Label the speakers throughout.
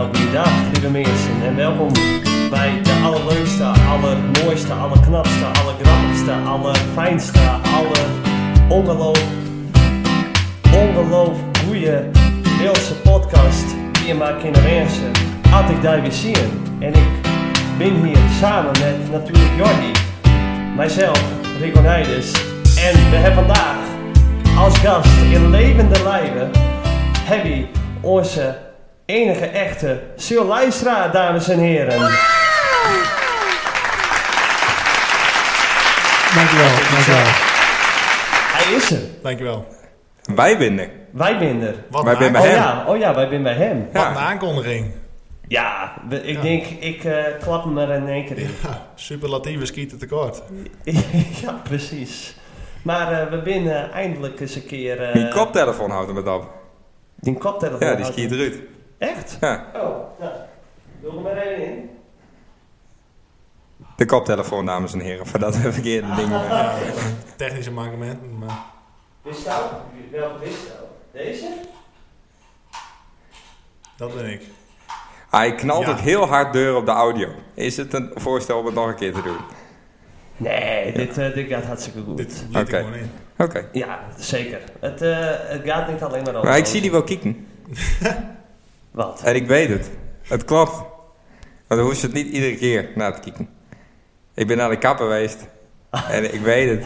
Speaker 1: Goedendag, lieve mensen, en welkom bij de allerleukste, allermooiste, allerknapste, allergrappigste, allerfijnste, alle ongeloof, ongeloof goeie Wilse podcast die je maar kunt wensen. Had ik daar weer zien. En ik ben hier samen met natuurlijk Jordi, mijzelf, Rico Nijders. En we hebben vandaag als gast in levende lijven heb je onze enige echte Sil Leistra, dames en heren.
Speaker 2: Dankjewel, dankjewel.
Speaker 1: Hij is er.
Speaker 2: Dankjewel.
Speaker 3: Wij winnen.
Speaker 1: Wij minder.
Speaker 2: Wat,
Speaker 3: Maar
Speaker 2: een,
Speaker 3: ben
Speaker 2: aank-
Speaker 3: bij
Speaker 1: Oh
Speaker 3: hem.
Speaker 1: ja, oh ja, wij zijn bij hem.
Speaker 2: wat
Speaker 3: Ja.
Speaker 2: een aankondiging.
Speaker 1: Ja, we- ik
Speaker 2: Ja.
Speaker 1: denk, ik eh, klap hem er in één keer in.
Speaker 2: Ja, superlatieve schieten tekort.
Speaker 1: ja, precies. Maar eh, we winnen eindelijk eens een keer... eh,
Speaker 3: Die koptelefoon houdt hem het op.
Speaker 1: Die koptelefoon.
Speaker 3: Ja, die skiet eruit.
Speaker 1: Echt?
Speaker 3: Ja,
Speaker 1: Oh, nou. Doe hem er even in.
Speaker 3: de koptelefoon, dames en heren, voordat we verkeerde dingen...
Speaker 2: Ja, technische mankementen, maar
Speaker 1: Wist je nou? Welke wist je nou? Deze?
Speaker 2: dat ben ik.
Speaker 3: Hij knalt
Speaker 2: Ja.
Speaker 3: het heel hard deur op de audio. Is het een voorstel om het nog een keer te doen?
Speaker 1: Nee, dit, eh, dit gaat hartstikke goed.
Speaker 2: Dit liet ik
Speaker 3: Oké.
Speaker 2: gewoon in.
Speaker 3: Oké.
Speaker 1: Ja, zeker. Het, eh, het gaat niet alleen maar over...
Speaker 3: Maar ik zie die wel kieken.
Speaker 1: Wat?
Speaker 3: En ik weet het. Het klopt. Maar dan hoef je het niet iedere keer na te kieken. Ik ben naar de kapper geweest. En ik weet het.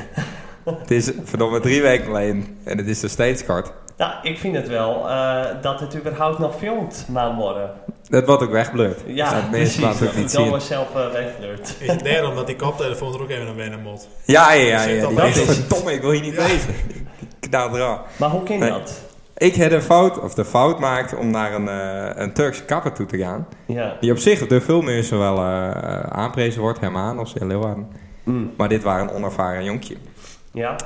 Speaker 3: Het is verdomme drie weken geleden. En het is nog steeds kort.
Speaker 1: Nou, ik vind het wel eh, dat het überhaupt nog filmt na morgen.
Speaker 3: Dat wordt ook wegblurred.
Speaker 1: Ja,
Speaker 3: dat mensen
Speaker 1: precies.
Speaker 3: laten het niet
Speaker 1: Dat
Speaker 3: zien.
Speaker 1: was zelf eh, wegflirt.
Speaker 2: Is het daarom dat die koptelefoon er ook even aan wennen moet?
Speaker 3: Ja, ja, ja.
Speaker 2: Zit
Speaker 3: ja
Speaker 2: dat
Speaker 3: die
Speaker 2: wel
Speaker 3: is
Speaker 2: eens?
Speaker 3: verdomme, ik wil hier niet
Speaker 2: Ja.
Speaker 3: lezen. Ik daal eraan.
Speaker 1: Maar hoe kan
Speaker 3: Nee.
Speaker 1: dat?
Speaker 3: Ik had een fout, of de fout maakt om naar een, eh, een Turkse kapper toe te gaan.
Speaker 1: Ja.
Speaker 3: Die op zich door veel mensen wel eh, eh, aanprezen wordt, Herman of in Leeuwarden.
Speaker 1: Mm.
Speaker 3: Maar dit waren een onervaren jonkje.
Speaker 1: Ja?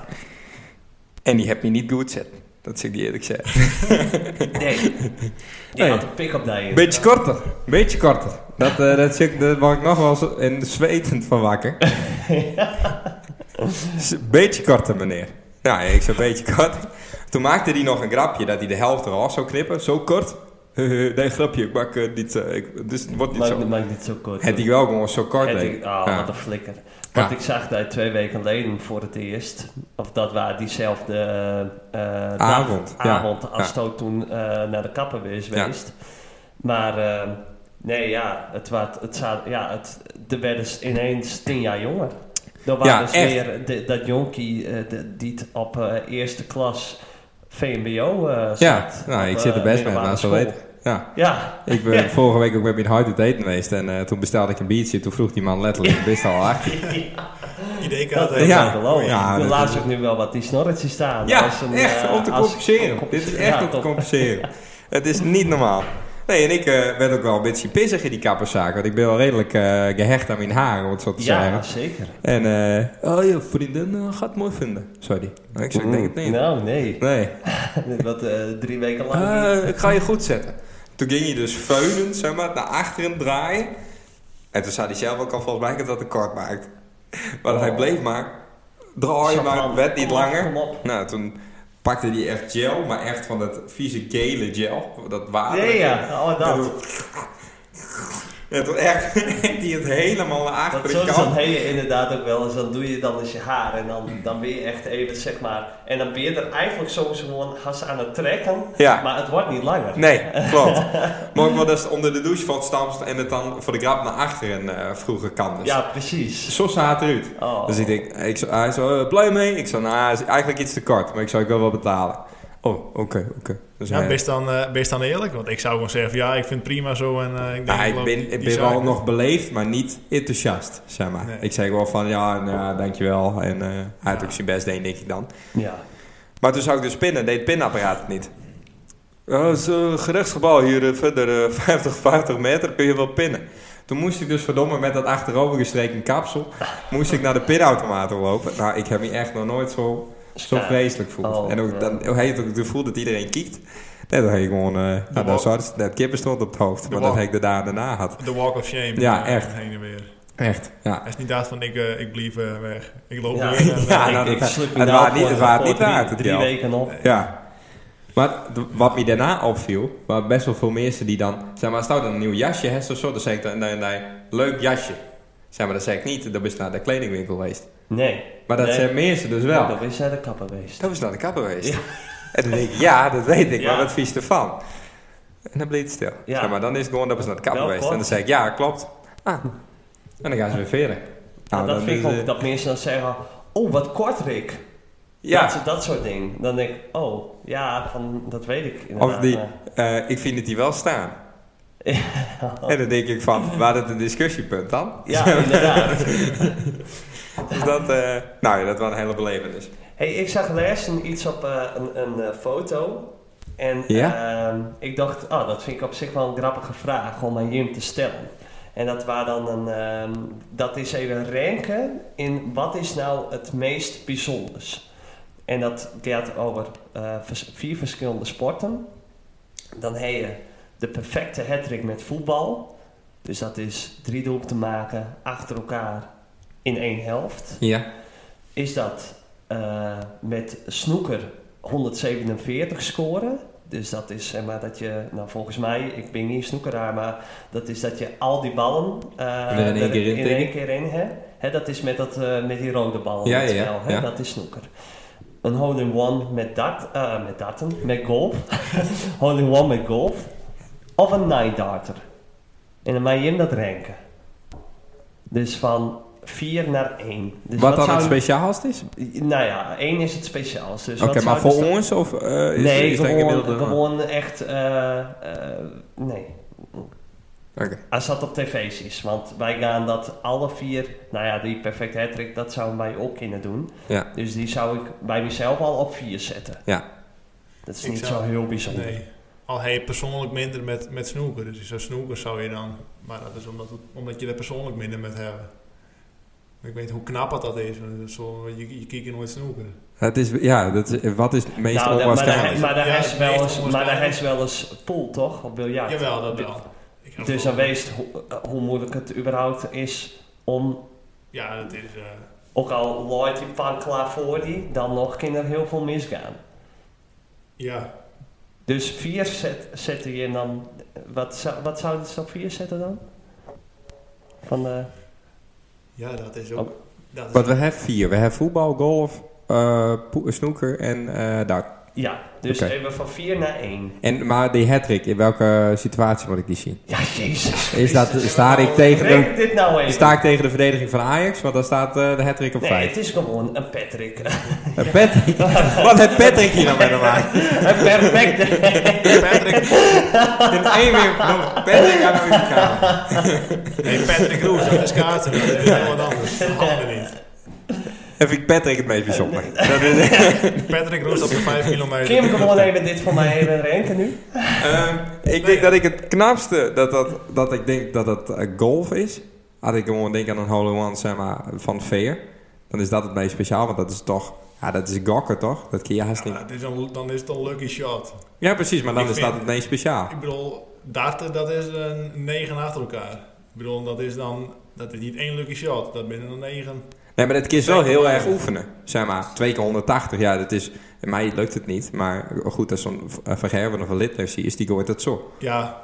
Speaker 3: En die heb je niet goed zet. Dat zeg ik die eerlijk zeggen.
Speaker 1: Nee. Die
Speaker 3: Nee.
Speaker 1: had een pick-up daarin.
Speaker 3: Oh Beetje korter, beetje korter. Dat, eh dat, zeg ik- daar word ik nog wel zo- in zwetend van wakker. S- Beetje korter, meneer. Ja, ik zei beetje kort. Toen maakte hij nog een grapje dat hij de helft eraf zou knippen. Zo kort. nee, grapje. Ik maak eh, niet, eh, ik, dus het wordt niet
Speaker 1: Maakt,
Speaker 3: zo.
Speaker 1: maakt niet zo kort.
Speaker 3: Het ik wel gewoon zo kort,
Speaker 1: Het
Speaker 3: denk
Speaker 1: ik-
Speaker 3: ik.
Speaker 1: Ah,
Speaker 3: Ja.
Speaker 1: wat een flikker. Want
Speaker 3: Ja.
Speaker 1: ik zag daar twee weken geleden voor het eerst. Of dat waren diezelfde eh, eh, dag,
Speaker 3: Avond, ja.
Speaker 1: avond als
Speaker 3: Ja.
Speaker 1: het ook toen eh, naar de kapper was
Speaker 3: Ja.
Speaker 1: geweest. Maar eh, nee, ja, het werd, het za- ja, het, er werden ze ineens tien jaar jonger. Dat waren
Speaker 3: Ja,
Speaker 1: dus
Speaker 3: echt.
Speaker 1: weer de- dat jonkie eh, de- die het op eh, eerste klas VMBO eh zat.
Speaker 3: Ja, nou,
Speaker 1: Op,
Speaker 3: ik zit er
Speaker 1: eh,
Speaker 3: best mee,
Speaker 1: middelbare
Speaker 3: maar zo
Speaker 1: school.
Speaker 3: weten. Ja.
Speaker 1: Ja,
Speaker 3: Ik ben vorige week ook met mijn hard uit eten geweest en eh, toen bestelde ik een biertje. Toen vroeg die man letterlijk, best al acht.
Speaker 2: ID-kaart
Speaker 1: Dat
Speaker 2: heeft.
Speaker 1: is
Speaker 3: Ja.
Speaker 1: ja, geloof ik.
Speaker 3: Ja,
Speaker 1: ik
Speaker 3: dat
Speaker 1: laat ook nu wel wat die snorretjes staan.
Speaker 3: Ja,
Speaker 1: Als een,
Speaker 3: echt,
Speaker 1: eh,
Speaker 3: om te
Speaker 1: als-
Speaker 3: compenseren.
Speaker 1: om te
Speaker 3: Dit is echt
Speaker 1: ja,
Speaker 3: om te
Speaker 1: toch.
Speaker 3: compenseren. Het is niet normaal. Nee, en ik eh, werd ook wel een beetje pissig in die kapperszaak, want ik ben wel redelijk eh, gehecht aan mijn haar, om het zo te
Speaker 1: Ja,
Speaker 3: zeggen.
Speaker 1: zeker.
Speaker 3: En, eh, oh je vriendin eh, gaat het mooi vinden. Sorry. Ik zei, ik denk het niet.
Speaker 1: Nou, nee.
Speaker 3: Nee.
Speaker 1: Wat eh, drie weken lang.
Speaker 3: Eh, ik ga je goed zetten. Toen ging je dus veunend, zeg maar, naar achteren draaien. En toen zei hij zelf ook al, volgens mij dat dat tekort maakt. Maar hij bleef maar draaien,
Speaker 1: Zo
Speaker 3: maar
Speaker 1: van,
Speaker 3: het werd niet
Speaker 1: kom op,
Speaker 3: langer.
Speaker 1: kom op.
Speaker 3: Nou, toen pakte hij echt gel, maar echt van dat vieze gele gel, dat water.
Speaker 1: nee, ja. Oh,
Speaker 3: En
Speaker 1: dat.
Speaker 3: toen- En toen echt, heeft hij het helemaal naar
Speaker 1: Dat
Speaker 3: achteren
Speaker 1: soms dan
Speaker 3: kant.
Speaker 1: heb je inderdaad ook wel eens, dan doe je dan eens je haar en dan, dan ben je echt even zeg maar, en dan ben je er eigenlijk soms gewoon has aan het trekken,
Speaker 3: Ja.
Speaker 1: maar het wordt niet langer.
Speaker 3: Nee, klopt. maar ook wel dat ze onder de douche van stamst en het dan voor de grap naar achteren eh, vroeger kan. Dus
Speaker 1: Ja, precies.
Speaker 3: Zo zag het eruit.
Speaker 1: Oh.
Speaker 3: Dus ik denk, ik zou, hij zo, eh, blij mee? Ik zou, nou, hij is eigenlijk iets te kort, maar ik zou ik wel wel betalen. Oh, oké, oké. Dus
Speaker 2: Ja,
Speaker 3: hij-
Speaker 2: best dan, eh, best dan eerlijk, want ik zou gewoon zeggen, ja, ik vind het prima zo en eh, ik denk...
Speaker 3: Nou, ik
Speaker 2: loop
Speaker 3: ben,
Speaker 2: die-
Speaker 3: ik
Speaker 2: die
Speaker 3: ben
Speaker 2: zaak
Speaker 3: wel
Speaker 2: met-
Speaker 3: nog beleefd, maar niet enthousiast, zeg maar.
Speaker 2: Nee.
Speaker 3: Ik zei wel van, ja, nou, ja, dankjewel. En eh, hij had ook zijn best deed, denk ik dan.
Speaker 1: Ja.
Speaker 3: Maar toen zou ik dus pinnen, deed het pinapparaat het niet. Ja, het is eh, een gerechtsgebouw hier eh, verder, eh, 50, 50 meter, kun je wel pinnen. Toen moest ik dus verdomme met dat achterovergestreken kapsel, moest ik naar de pinautomaat lopen. Nou, ik heb me echt nog nooit zo zo
Speaker 1: Ja.
Speaker 3: vreselijk voelt.
Speaker 1: Oh,
Speaker 3: en
Speaker 1: ja.
Speaker 3: ook, dan hoe heet het ook het gevoel dat iedereen kiekt. Nee, dan heb ik gewoon... eh nou,
Speaker 2: wal-
Speaker 3: dat, zou, dat kippen stond op het hoofd. maar dat
Speaker 2: wal-
Speaker 3: heb ik de dagen daarna had.
Speaker 2: De walk of shame.
Speaker 3: Ja,
Speaker 2: eh,
Speaker 3: echt.
Speaker 2: Heen en weer.
Speaker 3: Echt, ja.
Speaker 2: Hij is niet daad van, ik, eh, ik blijf eh, weg. Ik loop
Speaker 1: Ja.
Speaker 2: weer. en, eh,
Speaker 3: Ja, nou, dat-
Speaker 1: sluk me
Speaker 3: het
Speaker 1: nou
Speaker 3: waard niet-
Speaker 1: voor-
Speaker 3: het waard
Speaker 1: voor
Speaker 3: niet
Speaker 1: drie-
Speaker 3: waard, het
Speaker 1: Drie
Speaker 3: geld.
Speaker 1: weken op.
Speaker 3: Ja. Maar d- wat me daarna opviel, waar best wel veel mensen die dan, zeg maar, als nou dan een nieuw jasje hebt of zo, dan zeg ik dan, nee, nee, leuk jasje. Zeg maar, dat zeg ik niet, dan ben je naar de kledingwinkel geweest.
Speaker 1: Nee.
Speaker 3: Maar dat
Speaker 1: Nee.
Speaker 3: zijn mensen dus
Speaker 1: Nou,
Speaker 3: wel.
Speaker 1: Dan is hij de kapper geweest.
Speaker 3: Dat was naar de kapper geweest.
Speaker 1: Ja.
Speaker 3: En dan denk ik, ja, dat weet ik,
Speaker 1: Ja.
Speaker 3: maar wat vies ervan? En dan bleef het stil.
Speaker 1: Ja.
Speaker 3: Zeg maar dan is het gewoon, dat was naar de kapper
Speaker 1: Wel
Speaker 3: geweest.
Speaker 1: klopt.
Speaker 3: En dan zeg ik, ja, klopt. Ah. En dan gaan ze weer veren.
Speaker 1: Nou, dat vind ik
Speaker 3: is,
Speaker 1: ook,
Speaker 3: eh,
Speaker 1: dat mensen dan zeggen, oh wat kort Rick.
Speaker 3: Ja,
Speaker 1: Dat, dat soort dingen. Dan denk ik, oh ja, van, dat weet ik inderdaad.
Speaker 3: of die,
Speaker 1: maar-
Speaker 3: eh, ik vind het die wel staan. En dan denk ik van, waar dat een discussiepunt dan?
Speaker 1: eh. Oh. Ja, inderdaad.
Speaker 3: Dus dat, eh, nou ja, dat was een hele belevenis.
Speaker 1: Hey, ik zag laatst een- iets op eh, een, een eh, foto. En
Speaker 3: Ja?
Speaker 1: ehm, ik dacht, ah, dat vind ik op zich wel een grappige vraag om aan Jim te stellen. En dat was dan een, ehm, dat is even ranken in wat is nou het meest bijzonders. En dat gaat over eh, vers- vier verschillende sporten. Dan heb je de perfecte hattrick met voetbal. Dus dat is drie doelpunten maken achter elkaar in één helft
Speaker 3: Ja.
Speaker 1: is dat eh, met snoeker 147 scoren. Dus dat is zeg maar dat je, nou volgens mij, ik ben geen snoekeraar, maar dat is dat je al die ballen eh,
Speaker 3: Er in één keer in
Speaker 1: in
Speaker 3: tikt.
Speaker 1: één keer in hebt. Hè, dat is met, dat, eh, met die rode ballen.
Speaker 3: Ja,
Speaker 1: in het
Speaker 3: ja,
Speaker 1: spel, hè?
Speaker 3: ja.
Speaker 1: Dat is snoeker. Een hole-in-one met, dart, eh, met darten, met golf. hole-in-one met golf. Of een nine darter. En dan mag je hem dat ranken. Dus van 4 naar 1. Dus
Speaker 3: wat dan
Speaker 1: zou
Speaker 3: het
Speaker 1: je-
Speaker 3: speciaalst is?
Speaker 1: nou ja, één is het speciaals. Dus
Speaker 3: Oké,
Speaker 1: wat
Speaker 3: maar
Speaker 1: zou
Speaker 3: voor
Speaker 1: dus dat-
Speaker 3: ons? Of, eh, is,
Speaker 1: nee,
Speaker 3: is dat
Speaker 1: gewoon,
Speaker 3: gemiddelde-
Speaker 1: gewoon echt... eh, eh, nee,
Speaker 3: Oké.
Speaker 1: als dat op tv is. Want wij gaan dat alle vier... Nou ja, die perfecte hattrick, dat zouden wij ook kunnen doen.
Speaker 3: Ja.
Speaker 1: Dus die zou ik bij mezelf al op vier zetten.
Speaker 3: Ja.
Speaker 1: Dat is
Speaker 2: Ik
Speaker 1: niet
Speaker 2: zou-
Speaker 1: zo heel bijzonder.
Speaker 2: Nee. Al heb je persoonlijk minder met, met snoeker. Dus zo'n snoeker zou je dan... Maar dat is omdat, het- omdat je er persoonlijk minder met hebt. Ik weet hoe knap het dat is. want het is zo- je, je kijkt nooit snoeker.
Speaker 3: Dat is, ja, dat is, wat is het meest
Speaker 1: Nou, maar daar-
Speaker 3: onwaarschijnlijk?
Speaker 1: maar daar
Speaker 2: Ja,
Speaker 1: is
Speaker 2: het
Speaker 1: wel
Speaker 2: meest
Speaker 1: eens- maar daar
Speaker 2: onwaarschijnlijk.
Speaker 1: is wel eens pool, toch? Op biljart.
Speaker 2: Jawel, dat wel. Ik heb
Speaker 1: Dus
Speaker 2: wel-
Speaker 1: dan wees hoe, hoe moeilijk het überhaupt is om
Speaker 2: Ja, dat is... eh,
Speaker 1: Ook al looit die pan klaar voor die, dan nog kan er heel veel misgaan.
Speaker 2: ja.
Speaker 1: Dus vier zet, zetten je dan. Wat, zou- wat zouden ze op vier zetten dan? Van eh, de,
Speaker 2: ja, dat is ook... Dat is
Speaker 3: Want we hebben vier. We hebben voetbal, golf, eh, po- snoeker en eh dart.
Speaker 1: ja, dus
Speaker 3: Oké.
Speaker 1: even van vier naar één.
Speaker 3: En, maar die hattrick, in welke situatie moet ik die zien?
Speaker 1: Ja, jezus.
Speaker 3: Is dat, sta, ik tegen de,
Speaker 1: Breng dit nou even.
Speaker 3: sta ik tegen de verdediging van Ajax? Want dan staat eh, de hattrick op
Speaker 1: nee,
Speaker 3: vijf.
Speaker 1: het is gewoon een Patrick.
Speaker 3: Eh, Patrick, wat heeft Patrick hier nou mee te maken?
Speaker 1: een perfecte.
Speaker 2: Patrick,
Speaker 3: In één weer verdomme, Patrick aan de kamer.
Speaker 2: nee, Patrick Roes, dat is kaarten. Dat is heel wat anders. Dat handen niet.
Speaker 3: En vind ik Patrick het meest bijzonder. Dat is,
Speaker 2: Patrick Roes op de 5 kilometer.
Speaker 1: Kim, gewoon even dit voor mij even renken nu.
Speaker 3: Ehm, ik denk dat ik het knapste, dat, dat, dat ik denk dat dat eh, golf is. Had ik gewoon denk aan een hole-in-one zeg maar, van Veer. Dan is dat het meest speciaal, want dat is toch... Ja, dat is gokken toch? Dat kun je haast
Speaker 2: Ja,
Speaker 3: niet...
Speaker 2: dat is een, dan is het een lucky shot.
Speaker 3: Ja, precies, maar dan
Speaker 2: Ik
Speaker 3: is
Speaker 2: vind-
Speaker 3: dat het meest speciaal.
Speaker 2: Ik bedoel, darten, dat is een 9 achter elkaar. Ik bedoel, dat is dan... Dat is niet één lucky shot. Dat binnen een 9.
Speaker 3: Nee, maar dat kun je wel
Speaker 2: Zeker.
Speaker 3: heel erg oefenen. Zeg maar, twee keer 180, ja, dat is... Mij lukt het niet, maar goed, als zo'n uh, Van Gerwen of een Litlev is, die gooit dat zo.
Speaker 2: Ja.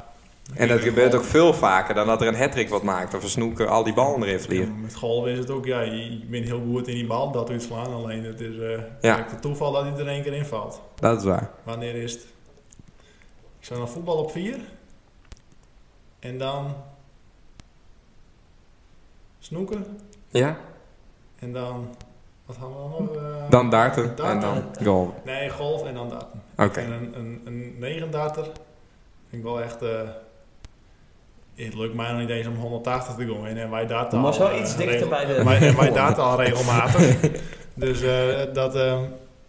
Speaker 3: En dat gebeurt ook veel vaker dan dat er een hattrick wat maakt of een snoeker al die ballen erin
Speaker 2: Ja,
Speaker 3: vliegen.
Speaker 2: met golf is het ook, ja, je je bent heel goed in die bal, dat doet slaan. Alleen het is eh direct het toeval dat hij er één keer in valt.
Speaker 3: Dat is waar.
Speaker 2: Wanneer is het? Ik zou nog voetbal op vier. En dan... Snoeken.
Speaker 3: Ja?
Speaker 2: En dan... Wat gaan we dan nog? eh,
Speaker 3: Dan darten en dan
Speaker 2: darten.
Speaker 3: golf.
Speaker 2: Nee, golf en dan darten.
Speaker 3: Oké.
Speaker 2: En een, een, een negendarter vind ik wel echt... eh, het lukt mij nog niet eens om 180 te gooien. En wij darten
Speaker 1: Maar
Speaker 2: al...
Speaker 1: zo
Speaker 2: eh,
Speaker 1: iets dichter
Speaker 2: regel-
Speaker 1: bij de-
Speaker 2: Wij, en wij darten al regelmatig. dus eh, dat, eh,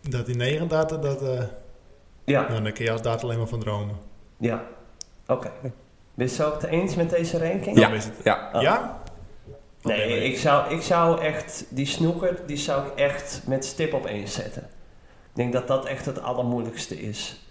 Speaker 2: dat die negendarter, dat... eh
Speaker 1: Ja,
Speaker 2: nou, daar kun je als darter alleen maar van dromen.
Speaker 1: ja. Oké. Ben je het het eens met deze ranking?
Speaker 3: Ja.
Speaker 2: Dan is het-
Speaker 3: Ja,
Speaker 1: Ah.
Speaker 2: Ja? Oké,
Speaker 1: Nee, ik zou, ik zou echt die snoeker, die zou ik echt met stip op één zetten. Ik denk dat dat echt het allermoeilijkste is.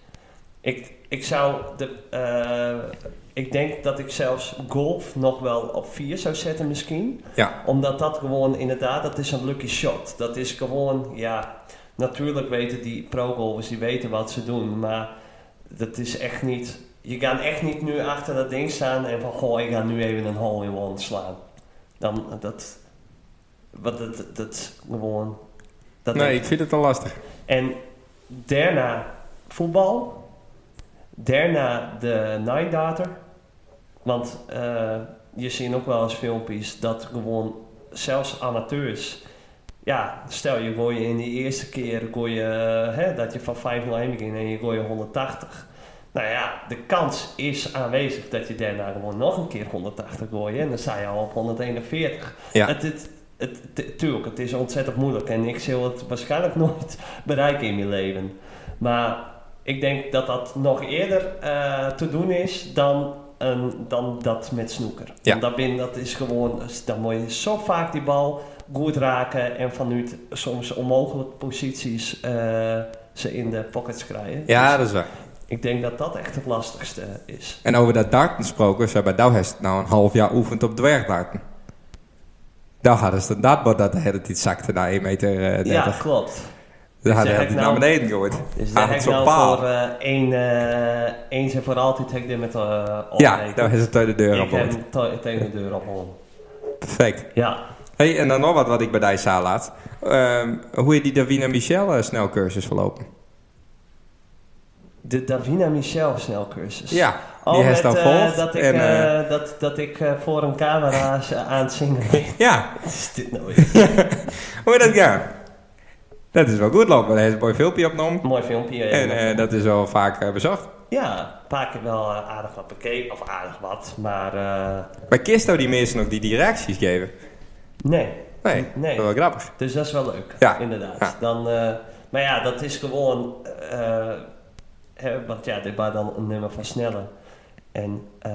Speaker 1: Ik, ik zou de, eh, ik denk dat ik zelfs golf nog wel op 4 zou zetten misschien.
Speaker 3: Ja.
Speaker 1: Omdat dat gewoon inderdaad, dat is een lucky shot. Dat is gewoon, ja, natuurlijk weten die pro-golfers, die weten wat ze doen. Maar dat is echt niet... Je gaat echt niet nu achter dat ding staan en van... Goh, ik ga nu even een hole-in-one slaan. Dan, dat... Wat, dat, dat, dat gewoon... Dat
Speaker 3: nee, ik vind het al lastig.
Speaker 1: en daarna voetbal. Daarna de Night Daughter. Want eh, je ziet ook wel eens filmpjes dat gewoon zelfs amateurs. Ja, stel je gooi je in die eerste keer gooi je, eh, hè, dat je van 501 begint en je gooi je 180. Nou ja, de kans is aanwezig dat je daarna gewoon nog een keer 180 gooit. En dan sta je al op 141.
Speaker 3: Ja.
Speaker 1: Het, het, het, het- tuurlijk, het is ontzettend moeilijk. En ik zal het waarschijnlijk nooit bereiken in mijn leven. Maar ik denk dat dat nog eerder eh, te doen is dan, een- dan dat met snoeker.
Speaker 3: Ja.
Speaker 1: Want dat, ben- dat is gewoon, dan moet je zo vaak die bal goed raken en vanuit soms onmogelijke posities eh, ze in de pockets krijgen.
Speaker 3: Ja,
Speaker 1: Dus
Speaker 3: dat is waar.
Speaker 1: ik denk dat dat echt het lastigste is.
Speaker 3: En over dat darten gesproken, ze hebben Douwhest nou een half jaar oefend op dwergdarten. Daar hadden ze de dartbord dat de hele tijd zakte naar 1,30 meter. eh,
Speaker 1: Ja, klopt.
Speaker 3: Daar
Speaker 1: zeg
Speaker 3: hadden ze
Speaker 1: ik
Speaker 3: naar
Speaker 1: nou-
Speaker 3: beneden gegooid.
Speaker 1: Dus
Speaker 3: Ah,
Speaker 1: daar
Speaker 3: het
Speaker 1: heb
Speaker 3: is
Speaker 1: ik nou
Speaker 3: op paal.
Speaker 1: voor eh één, eh, eens en voor altijd heb ik dit met eh
Speaker 3: Ja, daar is het uit de deur
Speaker 1: Ik
Speaker 3: op.
Speaker 1: heb hem te- tegen de deur op
Speaker 3: Perfect.
Speaker 1: Ja,
Speaker 3: Hey, en dan nog wat wat ik bij Dijssaal laat. Ehm, hoe je die Davina Michel eh, snelcursus verlopen?
Speaker 1: de Davina Michel snelcursus.
Speaker 3: Ja,
Speaker 1: Oh,
Speaker 3: die
Speaker 1: met,
Speaker 3: heeft dan
Speaker 1: eh,
Speaker 3: volgt.
Speaker 1: dat ik,
Speaker 3: en, eh,
Speaker 1: eh, dat, dat ik eh, voor een camera z- aan het zingen ben.
Speaker 3: ja,
Speaker 1: Wat is dit nou weer?
Speaker 3: hoe je dat gaan? Dat is wel goed lopen. Daar heeft een mooi filmpje opgenomen.
Speaker 1: Mooi filmpje. eh.
Speaker 3: En eh, dat is wel vaak eh, bezocht.
Speaker 1: ja, een paar keer wel eh, aardig wat bekeken. Of aardig wat, maar eh,
Speaker 3: Maar Kirsto die mensen nog die directies geven.
Speaker 1: nee.
Speaker 3: Nee,
Speaker 1: Nee.
Speaker 3: dat is wel grappig.
Speaker 1: Dus dat is wel leuk,
Speaker 3: Ja,
Speaker 1: inderdaad.
Speaker 3: ja.
Speaker 1: Dan, eh, maar ja, dat is gewoon... eh, hè, want ja, dit was dan een nummer van sneller. En eh,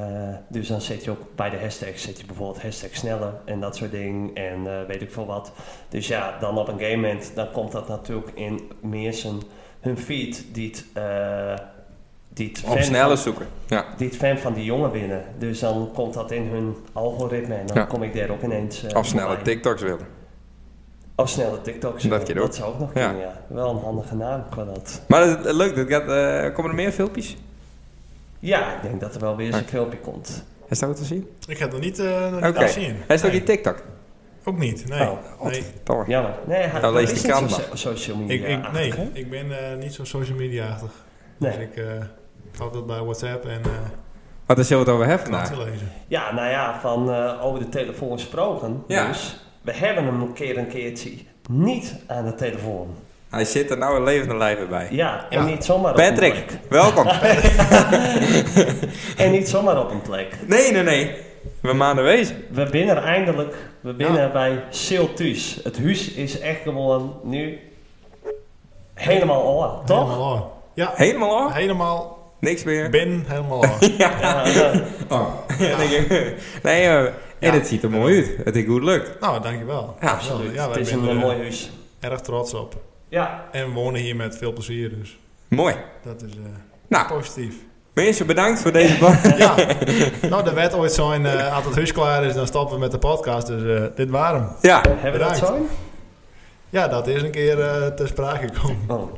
Speaker 1: dus dan zet je ook bij de hashtags, zet je bijvoorbeeld hashtag sneller en dat soort dingen en eh, weet ik veel wat. Dus ja, dan op een gegeven moment, dan komt dat natuurlijk in meer zijn hun feed die het, eh, die het
Speaker 3: Om
Speaker 1: fan-
Speaker 3: sneller zoeken. Ja.
Speaker 1: die het fan van die jongen winnen. Dus dan komt dat in hun algoritme en dan
Speaker 3: Ja.
Speaker 1: kom ik daar ook ineens... eh,
Speaker 3: Of snelle
Speaker 1: voorbij.
Speaker 3: TikToks willen.
Speaker 1: Of Oh, snelle TikToks.
Speaker 3: Dat kan ook.
Speaker 1: zou ook nog
Speaker 3: Ja.
Speaker 1: kunnen, ja. Wel een handige naam qua dat.
Speaker 3: Maar dat, is leuk, dat gaat, eh, komen er meer filmpjes?
Speaker 1: Ja, ik denk dat er wel weer eens een
Speaker 3: Oké.
Speaker 1: filmpje komt.
Speaker 3: Is dat wat te zien?
Speaker 2: Ik heb het nog niet, eh nog niet
Speaker 3: Oké.
Speaker 2: gezien.
Speaker 3: Hij is ook
Speaker 2: Nee,
Speaker 3: die TikTok.
Speaker 2: ook niet, nee.
Speaker 1: Oh.
Speaker 2: nee.
Speaker 3: Toch.
Speaker 1: Jammer. Nee, hij
Speaker 3: Dan leest
Speaker 1: is
Speaker 3: die
Speaker 1: niet
Speaker 3: krant
Speaker 1: zo-
Speaker 3: maar.
Speaker 1: so- social media.
Speaker 2: Ik, ik, nee,
Speaker 1: achtig, hè?
Speaker 2: ik ben eh, niet zo social media-achtig. Dus
Speaker 1: nee.
Speaker 2: ik eh hou dat bij WhatsApp en eh
Speaker 3: Wat is het over hebben
Speaker 2: kranten
Speaker 3: vandaag?
Speaker 2: lezen.
Speaker 1: Ja, nou ja, van eh, over de telefoon gesproken.
Speaker 3: Ja.
Speaker 1: Dus we hebben hem een keer een keertje niet aan de telefoon.
Speaker 3: Hij zit er nou een levende lijf bij.
Speaker 1: Ja, en
Speaker 2: Ja.
Speaker 1: niet zomaar op een
Speaker 3: Patrick,
Speaker 1: plek.
Speaker 3: welkom.
Speaker 1: En niet zomaar op een plek.
Speaker 3: Nee, nee, nee. We maanden wezen.
Speaker 1: We binnen er eindelijk, we binnen bij Siltus. Het huis is echt gewoon nu helemaal al, toch?
Speaker 2: Helemaal al. Ja,
Speaker 3: Helemaal af.
Speaker 2: helemaal.
Speaker 3: Niks meer.
Speaker 2: Ben helemaal al.
Speaker 1: Ja, eh,
Speaker 3: Oh.
Speaker 2: Ah.
Speaker 3: Ja, denk ik. Nee, eh, en het ziet er mooi uit. Het is goed lukt.
Speaker 2: nou, dankjewel.
Speaker 3: Ja,
Speaker 1: absoluut.
Speaker 2: Ja,
Speaker 1: het
Speaker 2: wij
Speaker 1: is
Speaker 2: zijn
Speaker 1: een
Speaker 2: er, eh,
Speaker 1: mooi huis.
Speaker 2: erg trots op.
Speaker 1: Ja,
Speaker 2: En we wonen hier met veel plezier, dus
Speaker 3: Mooi.
Speaker 2: dat is eh,
Speaker 3: Nou,
Speaker 2: positief.
Speaker 3: mensen, bedankt voor deze podcast.
Speaker 2: Ja, nou, de wet ooit zijn, eh als het huis klaar is, dan stoppen we met de podcast. Dus eh, dit waren hem.
Speaker 3: Ja,
Speaker 1: hebben we dat
Speaker 2: Bedankt.
Speaker 1: zo?
Speaker 2: Ja, dat is een keer eh, ter sprake gekomen.
Speaker 1: Oh,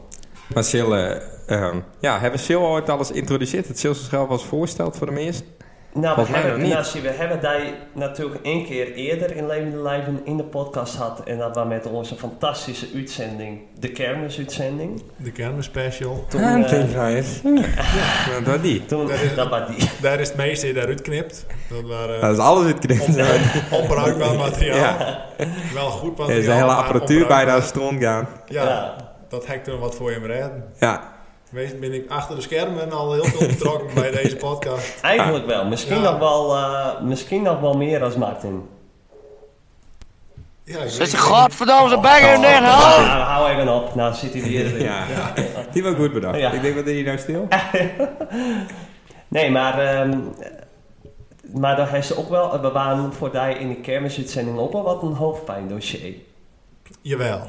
Speaker 3: maar Sil, eh, ehm, ja, hebben Sil ooit alles geïntroduceerd? Het zichzelf was voorgesteld voor de mensen?
Speaker 1: Nou,
Speaker 3: Volgens
Speaker 1: we
Speaker 3: mij
Speaker 1: hebben,
Speaker 3: nog niet.
Speaker 1: nou, zie, we hebben die natuurlijk één keer eerder in Levende Lijven in de podcast gehad. En dat was met onze fantastische uitzending, de kermisuitzending.
Speaker 2: De kermis special.
Speaker 1: Toen, eh,
Speaker 3: nou, Dat was die.
Speaker 1: toen
Speaker 2: Dat is-
Speaker 1: dat was die.
Speaker 2: Daar is het meeste daaruit knipt. Dat waren
Speaker 3: Dat is alles in het
Speaker 2: onbruik-
Speaker 3: knippen.
Speaker 2: onbruikbaar materiaal.
Speaker 3: Ja,
Speaker 2: Wel goed
Speaker 3: er
Speaker 2: materiaal.
Speaker 3: is de hele
Speaker 2: maar
Speaker 3: apparatuur
Speaker 2: onbruikbaar.
Speaker 3: bijna aan het stront gaan.
Speaker 1: Ja.
Speaker 2: Ja, dat hek toen wat voor je redden.
Speaker 3: Ja,
Speaker 2: Wees ben ik achter de schermen al heel veel betrokken bij deze podcast.
Speaker 1: Eigenlijk wel. Misschien,
Speaker 2: Ja.
Speaker 1: nog wel eh, misschien nog wel meer als Martin.
Speaker 2: Ja, ik
Speaker 4: Zet ze
Speaker 2: weet-
Speaker 4: godverdomme zijn bek in den
Speaker 2: Oh!
Speaker 4: hal!
Speaker 1: Nou, hou even op. Nou zit hij weer.
Speaker 3: ja. Die was goed bedacht.
Speaker 1: Ja.
Speaker 3: Ik denk, wat deed hij nou stil?
Speaker 1: Nee, maar, ehm maar daar heeft ze ook wel... We waren voor die in de kermisuitzending ook wel wat een hoofdpijndossier.
Speaker 2: Jawel,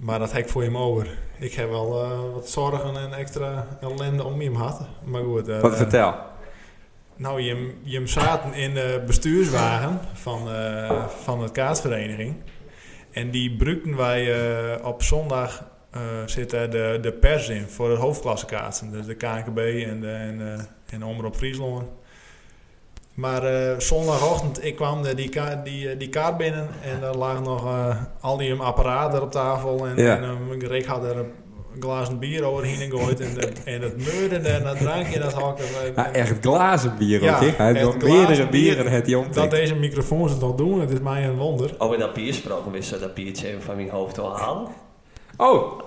Speaker 2: maar dat hek voor je over. Ik heb wel eh, wat zorgen en extra ellende om je gehad. Maar goed. eh,
Speaker 3: Wat vertel.
Speaker 2: Nou, je, je zaten in de bestuurswagen van, eh van het kaatsvereniging. En die gebruikten wij eh, op zondag eh, zit daar de, de pers in voor de hoofdklassekaarsen. Dus de KNKB en de, en, eh, en de Omroep Friesland. Maar eh, zondagochtend, ik kwam de, die, ka- die, eh, die kaart binnen en daar lag nog eh, al die apparaten op tafel. En,
Speaker 3: Ja.
Speaker 2: en eh, Rick had er een glazen bier overheen gegooid en, de- en het meurde en dat drankje dat had ik er- eh,
Speaker 3: Ja, echt glazen bier,
Speaker 2: Ja,
Speaker 3: ook, hè? Hij heeft
Speaker 2: echt
Speaker 3: nog
Speaker 2: glazen
Speaker 3: meerdere
Speaker 2: bier.
Speaker 3: bieren het hij
Speaker 2: Dat
Speaker 3: omdrinkt.
Speaker 2: deze microfoons het nog doen, het is mij een wonder.
Speaker 1: Al in dat bier gesproken, wist ze dat biertje even van mijn hoofd wil halen.
Speaker 3: Oh,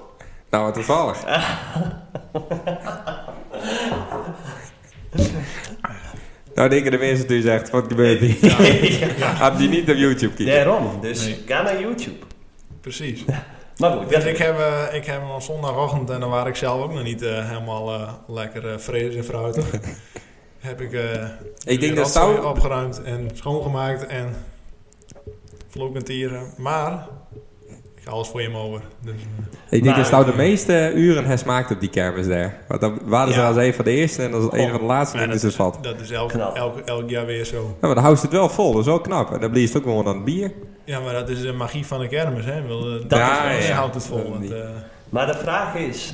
Speaker 3: nou wat toevallig. nou denken de mensen dus echt, wat gebeurt hier? Heb die niet op YouTube kijken?
Speaker 1: Daarom, dus
Speaker 2: Nee.
Speaker 1: ga naar YouTube.
Speaker 2: Precies.
Speaker 1: Maar goed,
Speaker 2: Dus
Speaker 1: dat
Speaker 2: ik heb, eh, ik heb hem op zondagochtend, en dan waar ik zelf ook nog niet eh, helemaal eh, lekker eh fris en fruitig, heb ik, eh,
Speaker 3: denk
Speaker 2: de
Speaker 3: dat zou-
Speaker 2: rotzooi opgeruimd en schoongemaakt en vloekend hier. Maar ik ga alles voor je over. Dus, eh,
Speaker 3: Ik denk
Speaker 1: Maar-
Speaker 3: dat nou de meeste uren hij smaakt op die kermis daar. Want dan waren ze
Speaker 2: Ja.
Speaker 3: als een van de eerste en als een van de laatste
Speaker 2: maar
Speaker 3: die ze valt.
Speaker 2: dat is elk,
Speaker 1: Knap.
Speaker 2: elk, elk jaar weer zo.
Speaker 3: Ja, maar dan houdt ze het wel vol, dat is wel knap. En dan blijft het ook gewoon aan het bier.
Speaker 2: Ja, maar dat is de magie van de kermis. Hè? Ik bedoel, eh,
Speaker 1: Dat
Speaker 2: is-
Speaker 3: ja,
Speaker 2: je
Speaker 3: ja.
Speaker 2: houdt het vol.
Speaker 3: Dat
Speaker 2: want,
Speaker 3: niet.
Speaker 2: eh,
Speaker 1: Maar de vraag is: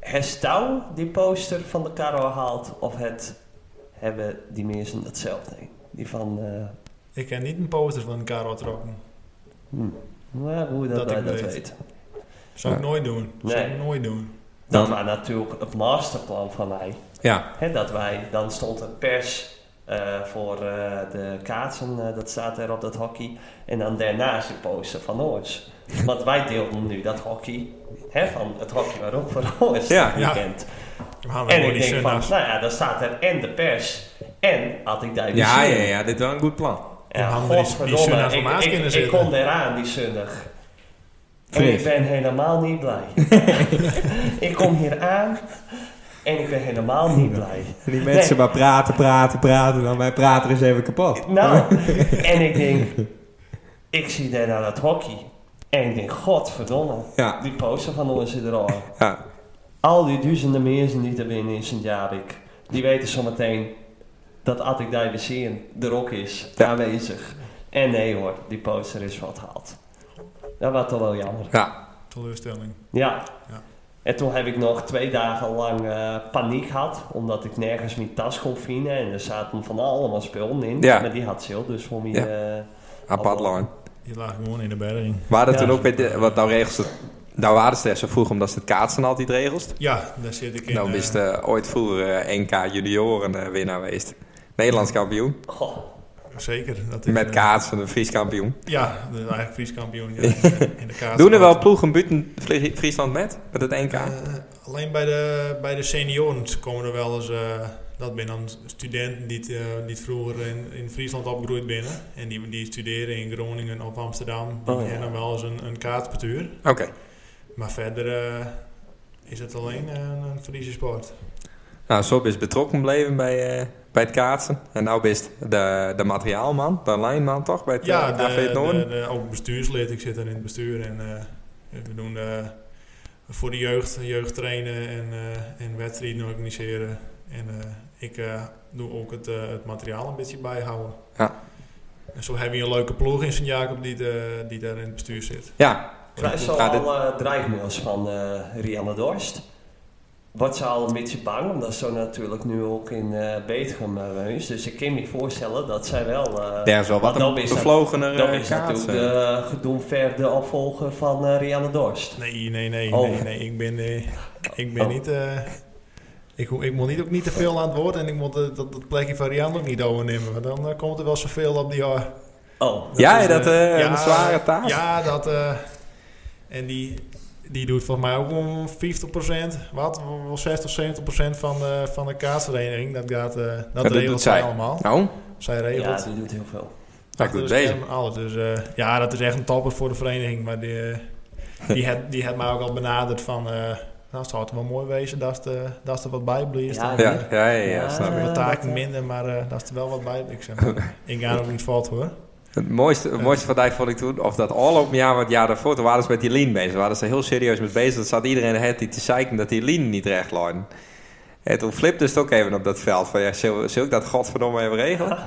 Speaker 1: herstel die poster van de Caro haalt, of het hebben die mensen datzelfde? Die van, eh,
Speaker 2: ik heb niet een poster van Karel trokken.
Speaker 1: nou, hoe dat,
Speaker 2: Dat
Speaker 1: wij
Speaker 2: ik
Speaker 1: dat
Speaker 2: weet.
Speaker 1: weten.
Speaker 2: Zou ik
Speaker 3: Ja.
Speaker 2: nooit doen. Zou
Speaker 1: Nee.
Speaker 2: ik nooit doen.
Speaker 1: Dat was natuurlijk het masterplan van mij.
Speaker 3: Ja,
Speaker 1: Hè, dat wij, dan stond een pers eh, voor eh, de kaatsen, eh, dat staat er op dat hockey. En dan daarnaast die poster van ons. Want wij deelden nu dat hockey, hè, van het hockey waar ook voor ons
Speaker 3: Ja,
Speaker 1: dit
Speaker 2: ja.
Speaker 1: weekend.
Speaker 2: We gaan
Speaker 1: En
Speaker 2: gewoon
Speaker 1: ik
Speaker 2: die
Speaker 1: denk van,
Speaker 2: zondags-
Speaker 1: nou ja, dan staat er en de pers en had ik daar
Speaker 3: ja, ja, ja, dit is wel een goed plan.
Speaker 1: ja
Speaker 2: Dan hadden we die- die
Speaker 1: godverdomme,
Speaker 2: zondag
Speaker 1: ik,
Speaker 2: voor maas
Speaker 1: ik,
Speaker 2: kunnen
Speaker 1: ik,
Speaker 2: zitten.
Speaker 1: kon eraan die zondag. En
Speaker 3: Vrees.
Speaker 1: ik ben helemaal niet blij. ik kom hier aan en ik ben helemaal niet blij.
Speaker 3: En die mensen maar praten, praten, praten. Dan wij praten eens even kapot.
Speaker 1: Nou,
Speaker 3: Oh.
Speaker 1: en ik denk, ik zie daar naar dat hockey. En ik denk, godverdomme,
Speaker 3: Ja.
Speaker 1: die poster van ons zit er al.
Speaker 3: Ja,
Speaker 1: Al die duizenden mensen die er binnen in Sint-Jarik, die weten zometeen dat Attic Divisiën er ook is,
Speaker 3: Ja.
Speaker 1: aanwezig. En nee hoor, die poster is wat haalt. Dat was toch wel jammer.
Speaker 3: ja.
Speaker 2: Teleurstelling.
Speaker 1: Ja.
Speaker 2: Ja.
Speaker 1: En toen heb ik nog twee dagen lang eh, paniek gehad, omdat ik nergens mijn tas kon vinden. En er zaten van allemaal spullen in,
Speaker 3: Ja.
Speaker 1: maar die had Sil dus voor mij.
Speaker 3: Ja.
Speaker 1: eh,
Speaker 3: apart lang.
Speaker 2: Je lag gewoon in de berging.
Speaker 3: Waren dat
Speaker 1: Ja.
Speaker 3: toen ook weer, de- want nou regels het, nou waren ze er zo vroeg omdat ze het kaatsen altijd regelt.
Speaker 2: Ja, daar zit ik in.
Speaker 3: Nou
Speaker 2: eh,
Speaker 3: is de ooit vroeger eh, NK junioren eh, winnaar geweest. Nederlands kampioen.
Speaker 1: goh,
Speaker 2: zeker. Dat is,
Speaker 3: Met
Speaker 2: eh,
Speaker 3: kaatsen, de Fries kampioen.
Speaker 2: Ja, de eigenlijk Fries kampioen. Ja, in de kaart.
Speaker 3: Doen er wel ploegen buiten Vlie- Friesland met? Met het NK?
Speaker 2: Eh, alleen bij de, bij de senioren komen er wel eens... eh, dat ben dan studenten die, het, eh, die het vroeger in, in Friesland opgegroeid binnen. En die, die studeren in Groningen of Amsterdam. Die
Speaker 1: Oh, ja.
Speaker 2: hebben dan wel eens een, een kaartpartuur.
Speaker 3: Oké.
Speaker 2: Maar verder eh, is het alleen eh, een Friese sport.
Speaker 3: Nou, zo is betrokken gebleven bij, eh, bij het kaatsen. En nou is de, de materiaalman, de lijnman toch? Bij het eh,
Speaker 2: Ja,
Speaker 3: ja,
Speaker 2: de,
Speaker 3: AV het Noorden.
Speaker 2: de- de- ook bestuurslid. Ik zit dan in het bestuur en eh, we doen eh, voor de jeugd, jeugd trainen en, eh, en wedstrijden organiseren. En eh, ik eh, doe ook het, eh, het materiaal een beetje bijhouden.
Speaker 3: Ja.
Speaker 2: En zo hebben we een leuke ploeg in Sint-Jacob die, de- die daar in het bestuur zit.
Speaker 3: Ja,
Speaker 1: krijg je al
Speaker 3: Ja, dit-
Speaker 1: eh, dreigmails van eh Rianne Dorst? Wordt ze al een beetje bang, omdat ze natuurlijk nu ook in eh Betegum eh, woont. Dus ik kan me voorstellen dat zij wel... eh
Speaker 3: daar is wel
Speaker 1: want
Speaker 3: wat een
Speaker 1: dan is dat-
Speaker 3: bevlogener
Speaker 1: dan
Speaker 3: eh,
Speaker 1: is natuurlijk
Speaker 3: kaatsen.
Speaker 1: de gedoemverde opvolger van eh Rianne Dorst.
Speaker 2: Nee, nee, nee,
Speaker 1: Oh.
Speaker 2: nee, nee. Ik ben, eh, ik ben
Speaker 1: Oh.
Speaker 2: niet... eh, ik, ho- ik moet niet, ook niet te veel aan het woord en ik moet eh, dat, dat plekje van Rian ook niet overnemen. Want dan eh, komt er wel zoveel op die... eh,
Speaker 1: Oh,
Speaker 3: Ja,
Speaker 2: is,
Speaker 3: dat,
Speaker 2: eh,
Speaker 3: eh, een zware taak.
Speaker 2: Ja, dat. eh, en die, die doet volgens mij ook om 50%, wat, wel 60, 70% van de, van de kaasvereniging. Dat, gaat, eh, dat
Speaker 3: dat
Speaker 2: regelt
Speaker 3: doet
Speaker 2: zij
Speaker 3: zij.
Speaker 2: allemaal.
Speaker 3: Nou,
Speaker 2: Zij
Speaker 1: ja,
Speaker 2: regelt.
Speaker 1: die doet heel veel.
Speaker 3: dat
Speaker 2: achter
Speaker 3: doet
Speaker 2: de
Speaker 3: deze.
Speaker 2: schermen alles. Dus eh, ja, dat is echt een topper voor de vereniging. Maar die, eh, die, had, die had mij ook al benaderd van. eh nou, zou het wel mooi wezen dat er, dat er wat bij blijft.
Speaker 1: Ja,
Speaker 2: En,
Speaker 3: Ja,
Speaker 2: eh,
Speaker 3: ja, ja, ja,
Speaker 1: Ja.
Speaker 3: snap ik.
Speaker 2: Wat
Speaker 1: dat,
Speaker 2: taken
Speaker 1: eh,
Speaker 2: minder, maar eh, dat is er wel wat bij. Ik zeg, maar, ik ga er ook niet fout hoor.
Speaker 3: Het mooiste, het mooiste van die vond ik toen, of dat afgelopen jaar, want het jaar daarvoor, toen waren ze met die lean bezig. Daar waren ze heel serieus mee bezig. Dan zat iedereen het die te zeiken dat die lean niet recht lijnen. En toen flipte ze het ook even op dat veld. Van ja, zul, zul ik dat godverdomme even regelen?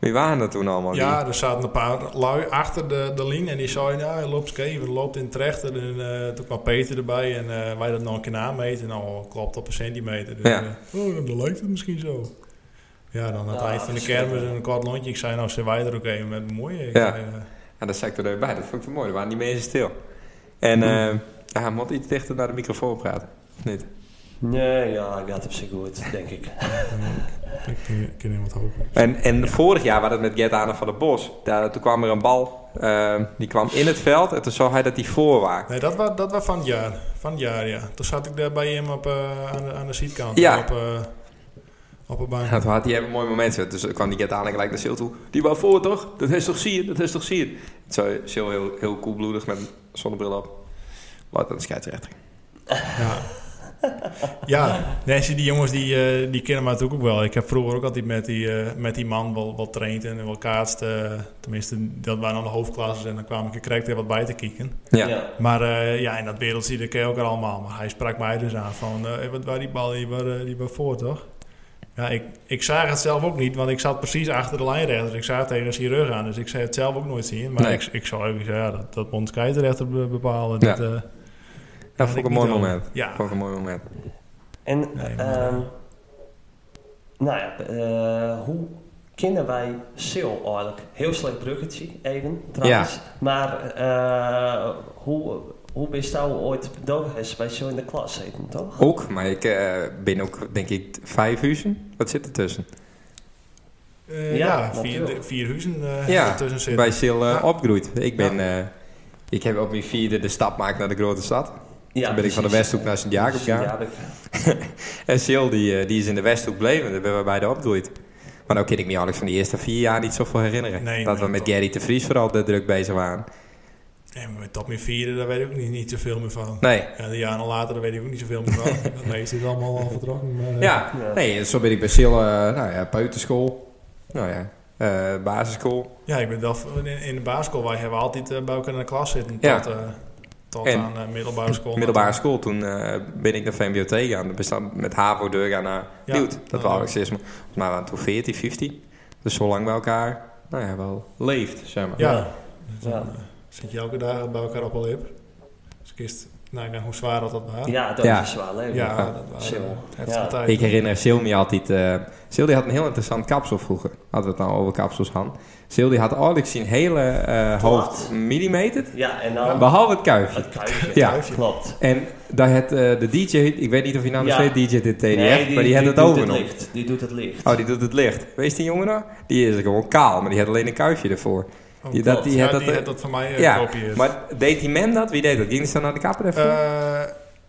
Speaker 3: Wie waren dat toen allemaal?
Speaker 2: Ja, er zaten een paar lui achter de, de lijn en die zeiden, ja, hij loopt skever, loopt in trechter. En eh, toen kwam Peter erbij en eh, wij dat nog een keer nameten. Nou, klopt op een centimeter. Dus,
Speaker 3: Ja.
Speaker 2: eh, oh, dan lijkt het misschien zo. Ja, dan aan het
Speaker 1: Ah,
Speaker 2: eind van de
Speaker 1: verschrikkelijk.
Speaker 2: kermis en een kwart lontje. Ik zei, nou, zijn wij er ook even met bemoeien? Ik
Speaker 3: Ja.
Speaker 2: zei, eh,
Speaker 3: die? Ja, dat zei ik er even bij. Dat vond ik te mooi. Er waren die mensen stil. En eh ja, moet iets dichter naar de microfoon praten. Of niet?
Speaker 1: Nee, ja, ik had op zich goed, denk ik.
Speaker 2: ik ken- ik ken iemand hopen.
Speaker 3: En, en vorig jaar was het met Gert Arne van der Bos. Daar, toen kwam er een bal. eh, die kwam in het veld. En toen zag hij dat die voor was.
Speaker 2: Nee, dat was, dat was van het jaar. Van het jaar, ja. Toen zat ik daar bij hem op, eh, aan, de, aan de seatkant.
Speaker 3: Ja.
Speaker 2: Op, eh op een bank.
Speaker 3: Ja, toen had hij even mooi moment. Dus toen kwam die get aan en gelijk naar Sil toe. Die wou voor, toch? Dat is toch zien, dat is toch zien. Zo, Sil heel, heel koelbloedig met een zonnebril op. Wat een scheidsrechter.
Speaker 2: Ja. ja, Nancy, die jongens die, eh, die kennen mij natuurlijk ook wel. Ik heb vroeger ook altijd met die, eh, met die man wel, wel traind en wel kaatst. eh, tenminste, dat waren dan de hoofdklasses en dan kwam ik er correct wat bij te kijken.
Speaker 3: Ja.
Speaker 2: Maar eh, ja, in dat wereldje, dat ken je ook al allemaal. Maar hij sprak mij dus aan van, eh, wat waar die bal, die waar, eh, die waar voor, toch? Ja, ik, ik zag het zelf ook niet, want ik zat precies achter de lijnrechter. Dus Ik zag tegen zijn rug aan, dus ik zei het zelf ook nooit zien. Maar
Speaker 3: Nee.
Speaker 2: ik, ik zou even zeggen, ja, dat, dat moet de scheidsrechter be- bepalen.
Speaker 3: Ja.
Speaker 2: Dat, eh,
Speaker 3: Dat
Speaker 2: had
Speaker 3: vond
Speaker 2: ik
Speaker 3: ik een
Speaker 2: niet
Speaker 3: mooi
Speaker 2: al.
Speaker 3: moment.
Speaker 2: Ja.
Speaker 3: Vond ik een mooi moment.
Speaker 1: En,
Speaker 2: Nee, maar-
Speaker 1: ehm, nou ja, eh, hoe kennen wij Sil eigenlijk? Heel slecht bruggetje, even, trouwens. Maar eh, hoe, hoe ben je nou ooit bedoeld bij Sil in de klas, zitten, toch?
Speaker 3: Ook, maar ik eh, ben ook denk ik vijf uur. Wat zit er tussen?
Speaker 2: Eh,
Speaker 1: Ja,
Speaker 2: ja, vier,
Speaker 1: natuurlijk.
Speaker 2: de- vier huizen eh,
Speaker 3: Ja,
Speaker 2: ertussen zitten.
Speaker 3: Bij Sil eh,
Speaker 2: Ja.
Speaker 3: opgegroeid. Ik ben... eh, ik heb op mijn vierde de stap gemaakt naar de grote stad.
Speaker 1: Ja,
Speaker 3: Toen ben ik van de
Speaker 1: precies.
Speaker 3: Westhoek naar Sint-Jacob gegaan.
Speaker 1: Sint-Jacob.
Speaker 3: En Sil, die, eh, die is in de Westhoek bleven. Daar ben we beide opgegroeid. Maar nou kan ik me eigenlijk van die eerste vier jaar niet zoveel herinneren.
Speaker 2: Nee,
Speaker 3: dat
Speaker 2: nee,
Speaker 3: we met
Speaker 2: toch.
Speaker 3: Gary de Vries vooral de druk bezig waren.
Speaker 2: En met dat meer vieren, daar weet ik ook niet, niet zoveel meer van.
Speaker 3: Nee.
Speaker 2: Ja, de jaren later, daar weet ik ook niet zoveel meer van. dat meeste is allemaal al vertrokken. Maar, eh,
Speaker 3: Ja,
Speaker 1: Ja.
Speaker 3: nee, zo ben ik bij Sil, eh, nou ja, peuterschool. Nou ja, eh, basisschool.
Speaker 2: ja, ik ben wel in, in de basisschool. Wij hebben altijd eh, bij elkaar in de klas zitten.
Speaker 3: Ja.
Speaker 2: Tot, eh, tot
Speaker 3: En-
Speaker 2: aan eh, middelbare school.
Speaker 3: Middelbare school. Toen eh, ben ik naar VMBO gegaan. Dan bestaan met HAVO deur gaan naar
Speaker 2: Ja.
Speaker 3: Duwt. Dat
Speaker 2: Ja.
Speaker 3: was ik steeds. Maar volgens mij waren we toen 14, 15. Dus zo lang bij elkaar, nou ja, wel leeft, zeg maar.
Speaker 2: Ja. Dus eh,
Speaker 1: Ja. Ja.
Speaker 2: Zit je elke dag bij elkaar op al hip. Dus ik eerst nagaan hoe zwaar dat, dat was.
Speaker 1: Ja, dat
Speaker 3: Ja.
Speaker 1: is wel leuk.
Speaker 2: Ja, dat was
Speaker 1: Sil.
Speaker 2: heftige
Speaker 1: Ja.
Speaker 2: tijd.
Speaker 3: Ik herinner Sil me altijd... eh Sil die had een heel interessant kapsel vroeger. Hadden we het nou over kapsels, Han. Sil die had eigenlijk zijn hele eh, hoofd
Speaker 1: Plat.
Speaker 3: millimeter.
Speaker 1: Ja, en dan
Speaker 3: Behalve het kuifje.
Speaker 1: het kuifje.
Speaker 3: Ja.
Speaker 1: klopt.
Speaker 3: En daar had eh, de DJ... Ik weet niet of hij nou nog
Speaker 1: Ja.
Speaker 3: steeds DJ dit TDF,
Speaker 1: Nee,
Speaker 3: maar die had het
Speaker 1: doet
Speaker 3: overgenomen.
Speaker 1: licht. Die doet het licht.
Speaker 3: Oh, die doet het licht. Wees die jongen nou? Die is gewoon kaal, maar die had alleen een kuifje ervoor.
Speaker 2: Oh,
Speaker 3: die,
Speaker 1: klopt.
Speaker 3: dat, die
Speaker 2: ja,
Speaker 3: had
Speaker 2: die
Speaker 3: dat, eh,
Speaker 2: had dat van mij eh,
Speaker 3: ja,
Speaker 2: gekopieerd.
Speaker 3: maar deed die man dat? Wie deed dat? Ging die zo naar de kapper even?
Speaker 2: Eh,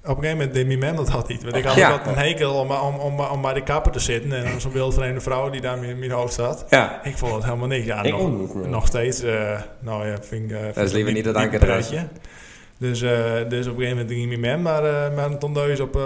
Speaker 2: op een gegeven moment deed mijn man dat had niet. Want ik had
Speaker 3: Ja.
Speaker 2: altijd een hekel om, om, om, om bij de kapper te zitten. En er was een wildvreemde vrouw die daar in mijn hoofd zat.
Speaker 3: ja.
Speaker 2: Ik vond het helemaal niks. Ja,
Speaker 1: Ik
Speaker 2: nog,
Speaker 1: ook niet, nee.
Speaker 2: nog steeds. eh, nou ja, vind ik... eh, vind
Speaker 3: Dat is
Speaker 2: ik
Speaker 3: liever niet het
Speaker 2: een
Speaker 3: ankerdraadje.
Speaker 2: pretje. Dus, eh, dus op een gegeven moment ging ik mijn man maar, eh maar een tondeus op... eh,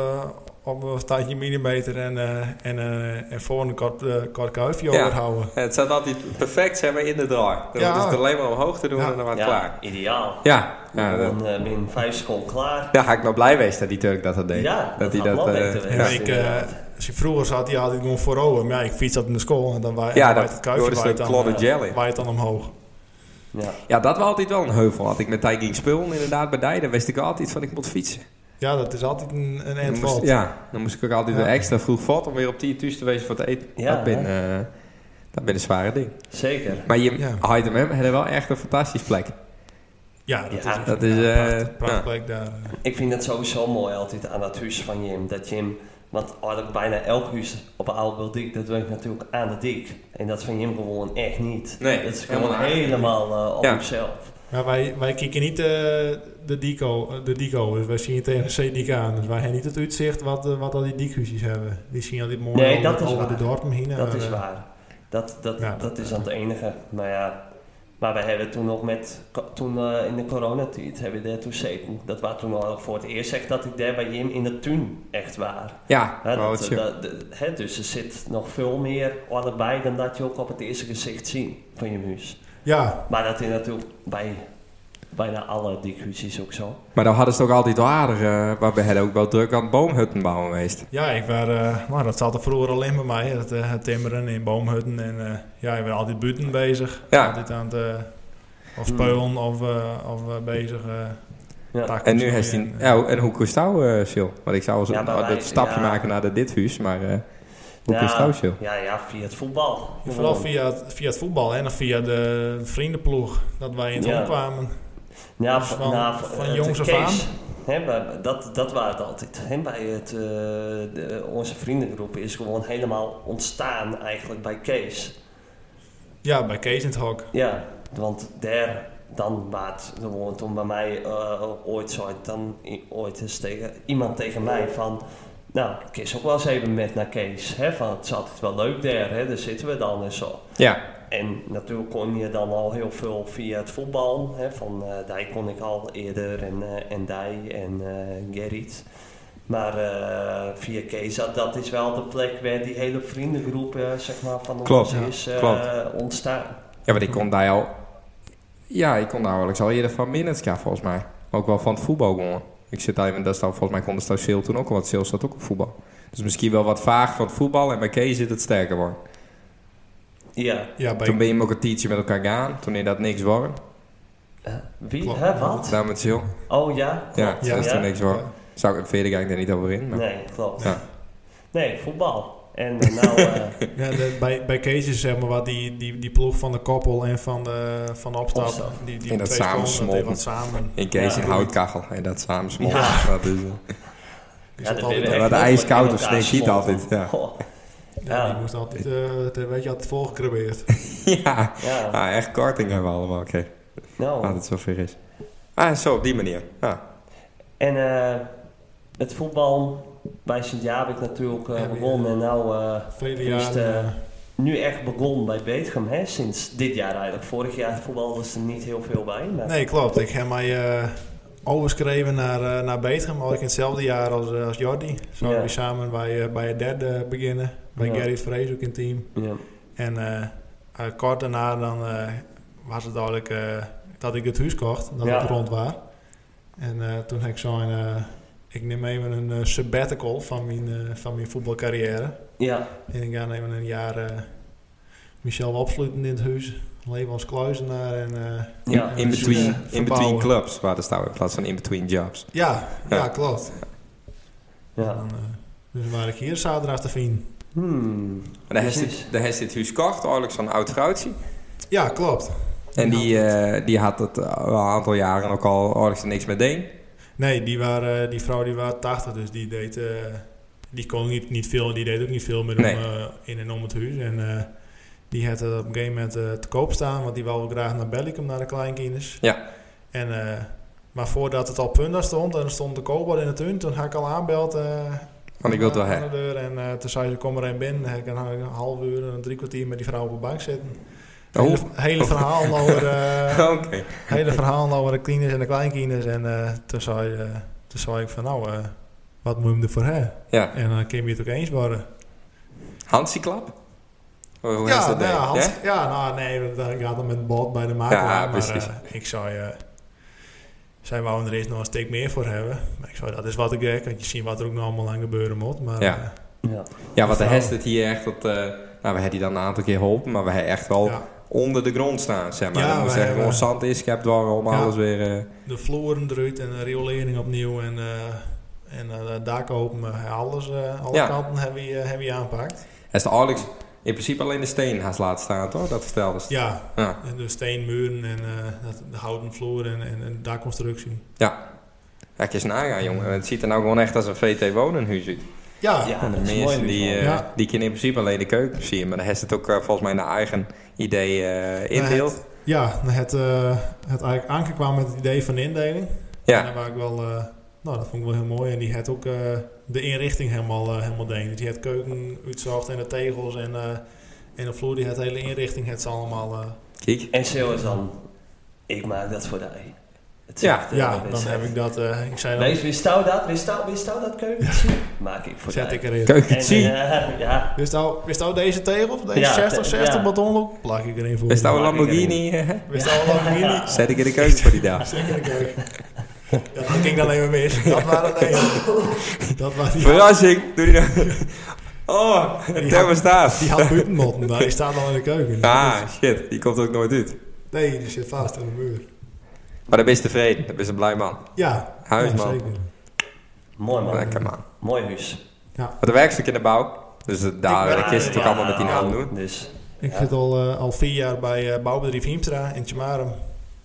Speaker 2: op een staartje millimeter en, eh en, eh, en voor een kort, eh, kort kuifje
Speaker 3: Ja.
Speaker 2: overhouden.
Speaker 3: Het zat altijd perfect zeg maar, in de draai. Dan
Speaker 2: Ja.
Speaker 3: hoefde ze het alleen maar omhoog te doen
Speaker 2: Ja.
Speaker 3: en dan was
Speaker 1: ja,
Speaker 3: het klaar.
Speaker 1: ideaal.
Speaker 3: Ja, ja
Speaker 1: Ja,
Speaker 3: dat,
Speaker 1: dan eh, min 5 school klaar.
Speaker 3: daar ga ik nog blij wezen dat die Turk dat had deed.
Speaker 1: Ja, dat
Speaker 3: hij
Speaker 1: had wel
Speaker 3: eh,
Speaker 1: beter
Speaker 2: En
Speaker 1: Ja.
Speaker 2: ik, eh, als je vroeger zat, die had ik gewoon voorover. Maar ja, ik fiets dat in de school en dan waait
Speaker 3: Ja,
Speaker 2: dan
Speaker 3: dat-
Speaker 2: waait het kuifje
Speaker 3: Joris,
Speaker 2: waait
Speaker 3: dat
Speaker 2: dan,
Speaker 3: klodde
Speaker 2: eh,
Speaker 3: jelly.
Speaker 2: waait dan omhoog.
Speaker 1: Ja.
Speaker 3: Ja, dat was altijd wel een heuvel. Had ik met Tijking ging spullen inderdaad bij Dijden, wist ik altijd van ik moet fietsen.
Speaker 2: Ja, dat is altijd een, een
Speaker 3: Dan
Speaker 2: endvalt.
Speaker 3: moest, ja, dan moest ik ook altijd
Speaker 2: Ja.
Speaker 3: weer extra vroeg vat om weer op 10 thuis te wezen voor het eten.
Speaker 1: Ja,
Speaker 3: dat, ben, eh, dat ben een zware ding.
Speaker 1: Zeker.
Speaker 3: Maar je
Speaker 2: Ja.
Speaker 3: Hyde hem hebben wel echt een fantastische plek.
Speaker 2: Ja, dat
Speaker 1: Ja.
Speaker 2: is
Speaker 3: Dat is, eh,
Speaker 2: prachtig, prachtig daar. eh.
Speaker 1: Ik vind het sowieso mooi altijd aan het huis van Jim. Dat Jim, want eigenlijk bijna elk huis op Aalbeldijk, dat werkt natuurlijk aan de dik. En dat vind Jim gewoon echt niet.
Speaker 3: Nee,
Speaker 1: dat is gewoon
Speaker 3: helemaal niet.
Speaker 1: helemaal eh, op
Speaker 3: Ja.
Speaker 1: hemzelf.
Speaker 2: Maar wij, wij kijken niet eh, de, dico, de dico, dus wij zien het tegen een CDK aan. Dus wij hebben niet het uitzicht wat, eh, wat al die dikhuisjes hebben. Die zien al dit mooi
Speaker 1: Nee,
Speaker 2: over,
Speaker 1: dat is
Speaker 2: over de
Speaker 1: waar.
Speaker 2: dorpen heen.
Speaker 1: Dat
Speaker 2: maar,
Speaker 1: is
Speaker 2: eh,
Speaker 1: waar. Dat, dat,
Speaker 2: Ja.
Speaker 1: dat is dan het enige. Maar ja, maar wij hebben toen nog met, ko- toen eh, in de coronatijd, hebben we daar toen zeten. Dat was toen al voor het eerst echt dat ik daar bij Jim in de tuin echt waar.
Speaker 3: Ja,
Speaker 1: Hè,
Speaker 3: maar
Speaker 1: dat,
Speaker 3: wat je-
Speaker 1: dat- dat- hè, dus er zit nog veel meer allebei dan dat je ook op het eerste gezicht ziet van je muus.
Speaker 2: Ja,
Speaker 1: Maar dat is natuurlijk bij bijna alle discussies ook zo.
Speaker 3: Maar dan hadden ze het ook altijd wel aardig. eh, maar we hadden ook wel druk aan het boomhutten bouwen geweest.
Speaker 2: Ja, ik was, eh, nou, dat zat er vroeger alleen bij mij. Het eh, het timmeren in boomhutten. En eh, ja, ik ben altijd buiten bezig.
Speaker 3: Ja.
Speaker 2: Altijd aan het eh, of speulen of, eh, of eh, bezig. eh,
Speaker 1: Ja.
Speaker 2: takken
Speaker 3: En nu
Speaker 2: zoeken
Speaker 3: heeft hij...
Speaker 2: en, eh,
Speaker 3: Ja, en hoe kost jou, eh, Sil? Want ik zou wel zo,
Speaker 1: Ja, maar
Speaker 3: nou,
Speaker 1: wij-
Speaker 3: dat stapje
Speaker 1: ja.
Speaker 3: maken naar de dit huis, maar... eh, hoe
Speaker 1: Ja,
Speaker 3: kost jou, Sil?
Speaker 1: Ja, ja, via het voetbal.
Speaker 2: Vooral via het, via het voetbal en via de vriendenploeg. Dat wij in het
Speaker 1: Ja.
Speaker 2: hond kwamen.
Speaker 1: Ja,
Speaker 2: Dus
Speaker 1: v-
Speaker 2: van-
Speaker 1: na- v-
Speaker 2: van
Speaker 1: het
Speaker 2: jongs af
Speaker 1: Kees. Hè, maar dat, dat waren het altijd. Hè, bij het, eh, de- onze vriendengroep is gewoon helemaal ontstaan eigenlijk bij Kees.
Speaker 2: Ja, bij Kees in het hok.
Speaker 1: Ja, want daar, dan waard gewoon toen bij mij eh, ooit zo uit- dan i- ooit eens tegen, iemand tegen mij van... Nou, ik is ook wel eens even met naar Kees. Hè, van, het is altijd wel leuk daar, hè, daar zitten we dan en zo.
Speaker 3: Ja,
Speaker 1: En natuurlijk kon je dan al heel veel via het voetbal. Hè, van eh Dijk kon ik al eerder en, eh en Dij en eh Gerrit. Maar eh, via Kees, dat, dat is wel de plek waar die hele vriendengroep eh, zeg maar, van
Speaker 3: Klopt,
Speaker 1: ons
Speaker 3: ja,
Speaker 1: is eh,
Speaker 3: klopt.
Speaker 1: ontstaan.
Speaker 3: ja want ik kon daar al... Ja, ik kon daar wel. Ik zal eerder van Minetska, volgens mij. Ook wel van het voetbal, gewoon. Ik zit daar, dat is dan, volgens mij kon de Sil toen ook al, want Sil zat ook op voetbal. Dus misschien wel wat vaag van het voetbal en bij Kees zit het sterker worden.
Speaker 1: Ja,
Speaker 2: Ja,
Speaker 3: Toen
Speaker 2: bij,
Speaker 3: ben je hem ook een tientje met elkaar gaan, toen is dat niks worden.
Speaker 1: Eh, wie?
Speaker 2: Klopt.
Speaker 1: Hè, wat?
Speaker 3: Daar met Sil.
Speaker 1: Oh ja,
Speaker 3: Ja,
Speaker 1: klopt.
Speaker 3: dat is toen niks worden. Zou ik verder ga ik daar niet over in, maar...
Speaker 1: Nee, klopt.
Speaker 3: Ja.
Speaker 1: Nee, voetbal. En eh, nou, eh
Speaker 2: ja, de- bij, bij Kees is zeg maar wat die, die, die ploeg van de koppel en van de, van de opstap.
Speaker 1: Opstap.
Speaker 2: Die, die
Speaker 3: En dat
Speaker 2: twee
Speaker 3: samen
Speaker 2: komen, dat
Speaker 3: smolten.
Speaker 2: wat samen.
Speaker 3: In Kees
Speaker 1: Ja.
Speaker 3: een houtkachel en dat samen smolten.
Speaker 1: Ja.
Speaker 3: Dat is, eh,
Speaker 2: Die,
Speaker 1: ja,
Speaker 2: zat
Speaker 1: dat
Speaker 2: altijd-
Speaker 1: werd
Speaker 3: Ja,
Speaker 1: echt
Speaker 3: wat
Speaker 1: nog
Speaker 3: ijskoud
Speaker 1: in
Speaker 3: of
Speaker 1: elkaar
Speaker 3: sneeuw giet
Speaker 1: gesmolten.
Speaker 3: altijd, ja.
Speaker 1: Goh,
Speaker 2: ja, die
Speaker 1: Ja.
Speaker 2: moest altijd, eh, het- weet je, had het volgeprobeerd.
Speaker 3: ja.
Speaker 1: Ja.
Speaker 3: Ah, echt korting hebben we allemaal. Oké,
Speaker 1: nou,
Speaker 3: dat het zover is. Ah, zo op die manier. Ja.
Speaker 1: En eh, het voetbal bij Sint-Jabik natuurlijk eh,
Speaker 2: Ja, die,
Speaker 1: begon. En nou, eh,
Speaker 2: Vele
Speaker 1: is het,
Speaker 2: jaren.
Speaker 1: eh,
Speaker 2: eh,
Speaker 1: nu echt begon bij Beetgem, hè? Sinds dit jaar eigenlijk. Vorig jaar voetbal was er niet heel veel bij. Maar
Speaker 2: Nee, klopt. Ik heb mij eh, overgeschreven naar, eh naar Betegem, al ik in hetzelfde jaar als, eh, als Jordi. Zo
Speaker 1: Ja.
Speaker 2: we samen bij, eh, bij het derde beginnen, bij
Speaker 1: Ja.
Speaker 2: Gerrit Vrees ook in het team.
Speaker 1: Ja.
Speaker 2: En eh, eh, kort daarna dan, eh, was het eigenlijk eh, dat ik het huis kocht, dat
Speaker 1: Ja.
Speaker 2: het rond was. En eh, toen heb ik zo'n, eh, ik neem even een eh, sabbatical van mijn, eh, van mijn voetbalcarrière.
Speaker 1: ja,
Speaker 2: En ik ga even een jaar eh Michel opsluiten in het huis, leven als kluizenaar en... eh,
Speaker 3: In,
Speaker 1: ja. dus eh,
Speaker 3: in, between,
Speaker 2: Ja.
Speaker 3: in between
Speaker 2: Verbouwen.
Speaker 3: clubs waar de staan in plaats van in between jobs.
Speaker 2: Ja,
Speaker 3: Ja.
Speaker 2: ja, klopt.
Speaker 1: ja.
Speaker 2: Dan, eh, dus waar ik hier zaterdag te vinden.
Speaker 1: Hmm.
Speaker 3: Maar daar heeft
Speaker 1: Precies.
Speaker 3: dit- daar heeft dit huis kocht, eigenlijk zo'n oud vrouwtje.
Speaker 2: Ja, klopt.
Speaker 3: En die, eh, die had het eh, al een aantal jaren ook al eigenlijk er niks mee deed.
Speaker 2: Nee, die, waren, eh, die vrouw die was 80, dus die deed. eh, die kon niet, niet veel, en die deed ook niet veel meer om,
Speaker 3: Nee.
Speaker 2: eh, in en om het huis. En eh, die had het op een gegeven moment eh, te koop staan, want die wou graag naar Bellicum, naar de kleinkinders.
Speaker 3: Ja.
Speaker 2: En, eh, maar voordat het al punten stond, en er stond de koopbal in het tuin, toen had ik al aanbeld. eh,
Speaker 3: Want ik wil het wel
Speaker 2: aan
Speaker 3: hebben.
Speaker 2: de deur. En eh, toen zei ze, kom er een binnen. En ik een een half uur, een drie kwartier met die vrouw op de bank zitten.
Speaker 3: Oh.
Speaker 2: Hele, hele verhaal over... eh,
Speaker 3: Oké.
Speaker 2: hele verhaal over de tieners en de kleinkinders. En eh, toen, zei, eh, toen zei ik van nou, eh, wat moet je hem ervoor hebben?
Speaker 3: Ja.
Speaker 2: En dan kun je het ook eens worden.
Speaker 3: Hansie-klap? Hoe hoe
Speaker 2: ja,
Speaker 3: heeft
Speaker 2: nou,
Speaker 3: dat deed?
Speaker 2: ja,
Speaker 3: Ja?
Speaker 2: Hans- ja, nou nee, dan gaat dan met het bot bij de makelaar.
Speaker 3: Ja,
Speaker 2: maar
Speaker 3: precies.
Speaker 2: eh, ik zou je... zij wou er eerst nog een steek meer voor hebben. Maar ik zou dat is wat ik denk. Want je ziet wat er ook nog allemaal aan gebeuren moet. Maar
Speaker 3: Ja.
Speaker 2: eh,
Speaker 1: Ja.
Speaker 3: Ja, want de
Speaker 2: Vrouw.
Speaker 3: hest het hier echt dat. eh, nou, we hebben die dan een aantal keer geholpen, maar we hebben echt wel
Speaker 2: Ja.
Speaker 3: onder de grond staan, zeg maar.
Speaker 2: Ja,
Speaker 3: dan moet
Speaker 2: we
Speaker 3: je zeggen,
Speaker 2: hebben-
Speaker 3: gewoon zand is, ik heb dwar om
Speaker 2: Ja.
Speaker 3: alles weer. eh,
Speaker 2: de vloeren eruit en de riolering opnieuw. En, eh en eh, de daken open. Eh, alles, eh, alle
Speaker 3: Ja.
Speaker 2: kanten hebben we, eh, hebben we aanpakt.
Speaker 3: Hij is de Alex in principe alleen de steen haast laten staan, toch? Dat vertelde ze.
Speaker 2: Ja,
Speaker 3: Ja.
Speaker 2: En de steenmuren en eh, dat- de houten vloer en, en, en dakconstructie.
Speaker 3: Ja. Ja, ik eens nagaan, jongen. Het ziet er nou gewoon echt als een VT wonenhuis uit.
Speaker 2: Ja,
Speaker 1: Ja,
Speaker 3: en de
Speaker 1: dat is
Speaker 3: mensen
Speaker 1: mooi
Speaker 3: die,
Speaker 1: in
Speaker 3: eh,
Speaker 1: ieder
Speaker 2: geval. Ja.
Speaker 3: die kunnen in principe alleen de keuken zien. Maar dan heeft het ook eh, volgens mij naar eigen idee eh, indeeld.
Speaker 2: ja nou, het, eh, het eigenlijk Anke kwam met het idee van de indeling. En
Speaker 3: ja.
Speaker 2: daar waar ik wel, eh, nou dat vond ik wel heel mooi. En die had ook eh, de inrichting helemaal, eh, helemaal deed. Dus die had keuken uitzocht en de tegels en, eh, en de vloer. Die had de hele inrichting had ze allemaal. eh,
Speaker 3: Kijk.
Speaker 1: En zo is dan, ik maak dat voor die. Het
Speaker 3: Ja,
Speaker 1: zegt, eh,
Speaker 2: Ja,
Speaker 1: het
Speaker 2: dan
Speaker 1: zegt-
Speaker 2: heb ik dat. eh, ik zei dat.
Speaker 1: Wees, wist jou dat? Wist jou, wist jou dat keukentje? Maak ik voor
Speaker 2: Zet
Speaker 1: jou.
Speaker 2: ik erin.
Speaker 1: En,
Speaker 3: Keukentje.
Speaker 1: eh, ja,
Speaker 2: Wist nou, wist nou deze tegel, deze
Speaker 1: Ja,
Speaker 2: 60,
Speaker 1: te-
Speaker 2: 60
Speaker 1: ja.
Speaker 2: betonloop? Plak ik erin voor.
Speaker 3: Is nou een
Speaker 2: je.
Speaker 3: Lamborghini? hè?
Speaker 2: Wist nou al lang niet?
Speaker 3: Zet ik in de keuken voor die dag.
Speaker 2: Zeker een keer. Ja, dat ging dan even mis. Dat waren nee. Dat waren die, had-
Speaker 3: Verrassing. Doe die dan. Oh, een thermostaat.
Speaker 2: die had buitenmotten, maar die staat al in de keuken.
Speaker 3: Ah, shit. Die komt ook nooit uit.
Speaker 2: Nee, die zit vast aan de muur.
Speaker 3: Maar dan ben je tevreden. Dan ben je een blij man.
Speaker 2: Ja,
Speaker 3: Huisman.
Speaker 2: ja, zeker.
Speaker 1: mooi man.
Speaker 3: Lekker man.
Speaker 1: Mooi huis.
Speaker 3: Maar de werkstuk in de bouw. Dus eh, daar
Speaker 2: Ik
Speaker 3: dat
Speaker 2: ben-
Speaker 3: kun je het natuurlijk allemaal met die naam doen.
Speaker 1: Dus
Speaker 2: Ik zit al, eh, al vier jaar bij eh, bouwbedrijf Hiemstra in Tjemarum.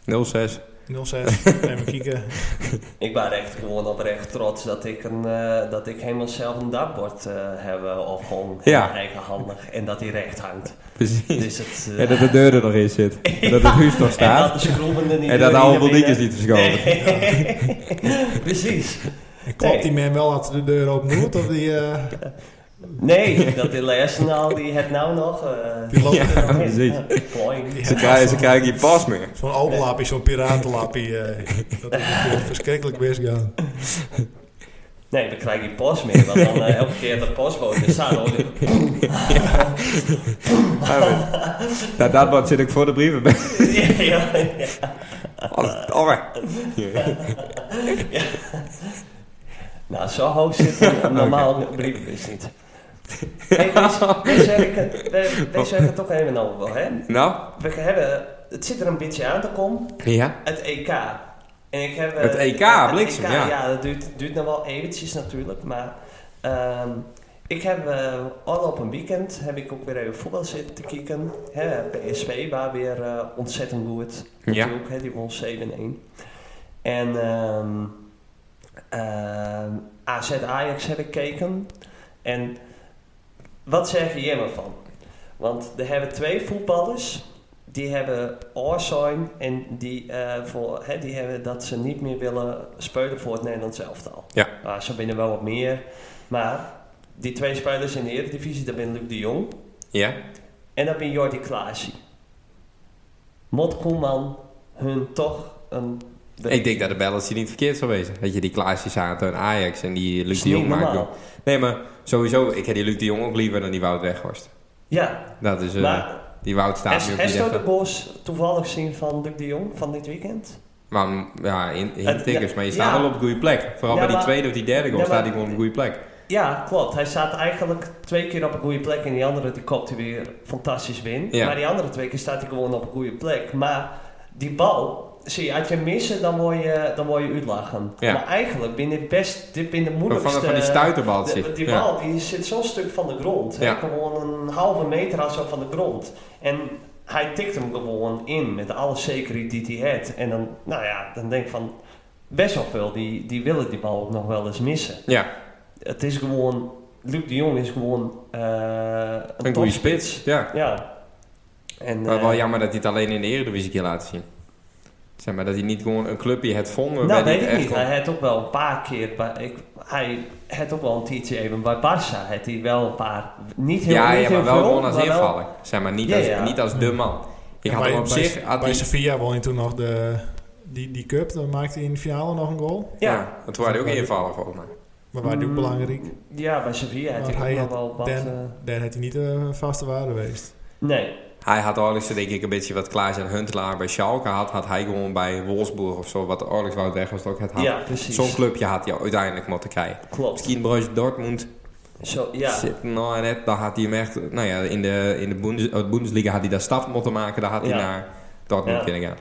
Speaker 3: 06.
Speaker 2: 06, even kijken.
Speaker 1: ik ben echt gewoon oprecht trots dat ik, een, eh, dat ik helemaal zelf een dakbord eh heb eh, opgehangen.
Speaker 3: Ja.
Speaker 1: Eigenhandig. En dat die recht hangt.
Speaker 3: Precies.
Speaker 1: Dus het... eh,
Speaker 3: En dat de deur er nog in zit. En dat het huis nog
Speaker 1: En dat
Speaker 3: staat.
Speaker 1: de schroeven er niet
Speaker 3: En dat de
Speaker 1: door
Speaker 3: oude
Speaker 1: iedereen,
Speaker 3: bolletjes
Speaker 1: hè?
Speaker 3: niet verscholen.
Speaker 1: Nee. Precies.
Speaker 2: En klopt die man wel als de deur open moet? Of die, eh,
Speaker 1: Nee, dat die leersenaal die het nou nog. eh
Speaker 2: die loopt
Speaker 3: Ja.
Speaker 2: er nog in?
Speaker 3: precies.
Speaker 1: Mooi.
Speaker 3: Ze krijgen, ze krijgen die pas meer.
Speaker 2: Zo'n openlappie, zo'n piratenlappie. eh dat is natuurlijk verschrikkelijk misgaan.
Speaker 1: Nee, we krijgen geen post meer, want dan eh, elke keer de postbode is aan. hoor.
Speaker 3: Oh, Ja, maar- Nou, dat wat zit ik voor de brieven bij.
Speaker 1: Ja, ja, ja.
Speaker 3: Alles- Oh, maar.
Speaker 1: Nou, zo hoog zit een normaal brief is dus niet. Hey, we- we zeggen- we- we zeggen toch even over, wel, hè?
Speaker 3: Nou?
Speaker 1: We hebben, het zit er een beetje aan te komen.
Speaker 3: Ja.
Speaker 1: Het EK. En ik heb, eh,
Speaker 3: Het EK, bliksem, ja.
Speaker 1: dat duurt, duurt nog wel eventjes natuurlijk. Maar ehm, ik heb eh, al op een weekend heb ik ook weer even voetbal zitten te kijken. Hè, PSV waar weer eh, ontzettend goed.
Speaker 3: Ja.
Speaker 1: Natuurlijk, hè, die won 7-1. En ehm ehm, AZ Ajax heb ik gekeken. En wat zeg je hier maar van? Want er hebben twee voetballers die hebben oorzaam en die, eh, voor, hè, die hebben dat ze niet meer willen spelen voor het Nederlands elftal.
Speaker 3: Ja.
Speaker 1: Nou, zo binnen wel wat meer. Maar die twee spelers in de Eredivisie, dat ben Luc de Jong
Speaker 3: Ja.
Speaker 1: en dat ben Jordi Klaasie. Mot Koeman hun toch een...
Speaker 3: Ik denk dat de balance niet verkeerd zou wezen. Dat je die Klaasjes aan en Ajax en die Luc
Speaker 1: Is
Speaker 3: de Jong
Speaker 1: niet
Speaker 3: maakt.
Speaker 1: normaal.
Speaker 3: wel. Nee, maar sowieso, ik heb die Luc de Jong ook liever dan die Wout Weghorst.
Speaker 1: Ja,
Speaker 3: Dat is, eh,
Speaker 1: maar
Speaker 3: die Wout staat nu op die
Speaker 1: heeft ook de
Speaker 3: rechter.
Speaker 1: Boos toevallig zien van Luc de Jong van dit weekend?
Speaker 3: Maar mm, ja, in, in
Speaker 1: Het-
Speaker 3: tikkers,
Speaker 1: ja,
Speaker 3: maar je staat
Speaker 1: ja.
Speaker 3: wel op een goede plek. Vooral
Speaker 1: Ja,
Speaker 3: bij die
Speaker 1: maar-
Speaker 3: tweede of die derde goal
Speaker 1: Ja,
Speaker 3: staat
Speaker 1: maar-
Speaker 3: hij gewoon op een goede plek.
Speaker 1: Ja, klopt. Hij staat eigenlijk twee keer op een goede plek en die andere die kopt hij weer fantastisch win.
Speaker 3: Ja.
Speaker 1: Maar die andere twee keer staat hij gewoon op een goede plek. Maar die bal, zie je, als je hem missen, dan word je, dan word je uitlachen.
Speaker 3: Ja.
Speaker 1: Maar eigenlijk ben je best, dit ben de moeilijkste...
Speaker 3: Waarvan het van die stuiterbal
Speaker 1: de-
Speaker 3: zit.
Speaker 1: Die
Speaker 3: Ja.
Speaker 1: bal die zit zo'n stuk van de grond.
Speaker 3: Ja.
Speaker 1: Gewoon een halve meter als zo van de grond. En hij tikt hem gewoon in met alle zekerheid die hij had. En dan, nou ja, dan denk ik van... Best wel veel, die, die willen die bal ook nog wel eens missen
Speaker 3: Ja,
Speaker 1: het is gewoon. Luc de Jong is gewoon. eh, een
Speaker 3: een goede spits. Ja.
Speaker 1: Ja. En,
Speaker 3: Maar
Speaker 1: eh,
Speaker 3: wel jammer dat hij het alleen in de Eredivisie keer laat zien. Zeg maar dat hij niet gewoon een clubje het vonden.
Speaker 1: Nou,
Speaker 3: bij
Speaker 1: weet
Speaker 3: die
Speaker 1: ik
Speaker 3: echt
Speaker 1: niet.
Speaker 3: gewoon-
Speaker 1: Hij had ook wel een paar keer. bij- ik, hij had ook wel een tijdje even bij Barça. Had hij wel een paar. Niet heel,
Speaker 3: Ja,
Speaker 1: niet
Speaker 3: ja,
Speaker 1: heel
Speaker 3: maar wel
Speaker 1: veel,
Speaker 3: gewoon als
Speaker 1: maar wel-
Speaker 3: invaller. Zeg maar niet,
Speaker 1: Ja,
Speaker 3: als,
Speaker 1: ja.
Speaker 3: niet als de man. Ik
Speaker 2: Ja,
Speaker 3: had
Speaker 2: bij,
Speaker 3: hem op
Speaker 2: bij-
Speaker 3: zich... had
Speaker 2: bij
Speaker 3: die-
Speaker 2: Sevilla won je toen nog de, die, die cup. Dan maakte hij in de finale nog een goal.
Speaker 1: Ja.
Speaker 3: ja, want toen waren hij ook invaller volgens mij.
Speaker 2: Maar waar die ook
Speaker 1: Mm,
Speaker 2: belangrijk.
Speaker 1: Ja, bij Sevilla had
Speaker 2: Maar
Speaker 1: hij
Speaker 2: hij
Speaker 1: ook nog
Speaker 2: had
Speaker 1: wel wat.
Speaker 2: Den-
Speaker 1: eh,
Speaker 2: Daar had hij niet de vaste waarde geweest.
Speaker 1: nee.
Speaker 3: Hij had Orlix denk ik een beetje wat Klaas en Huntelaar bij Schalke had. Had hij gewoon bij Wolfsburg of zo. Wat Orlix Wout Weghorst ook het had.
Speaker 1: Ja, precies.
Speaker 3: Zo'n clubje had hij uiteindelijk moeten krijgen.
Speaker 1: Klopt.
Speaker 3: Misschien Borussia Dortmund
Speaker 1: Zo, ja.
Speaker 3: zit nou net. Dan had hij hem echt... Nou ja, in de, in de Bundes, eh, Bundesliga had hij daar stap moeten maken. Daar had hij
Speaker 1: Ja.
Speaker 3: naar Dortmund
Speaker 1: Ja.
Speaker 3: kunnen gaan. Dat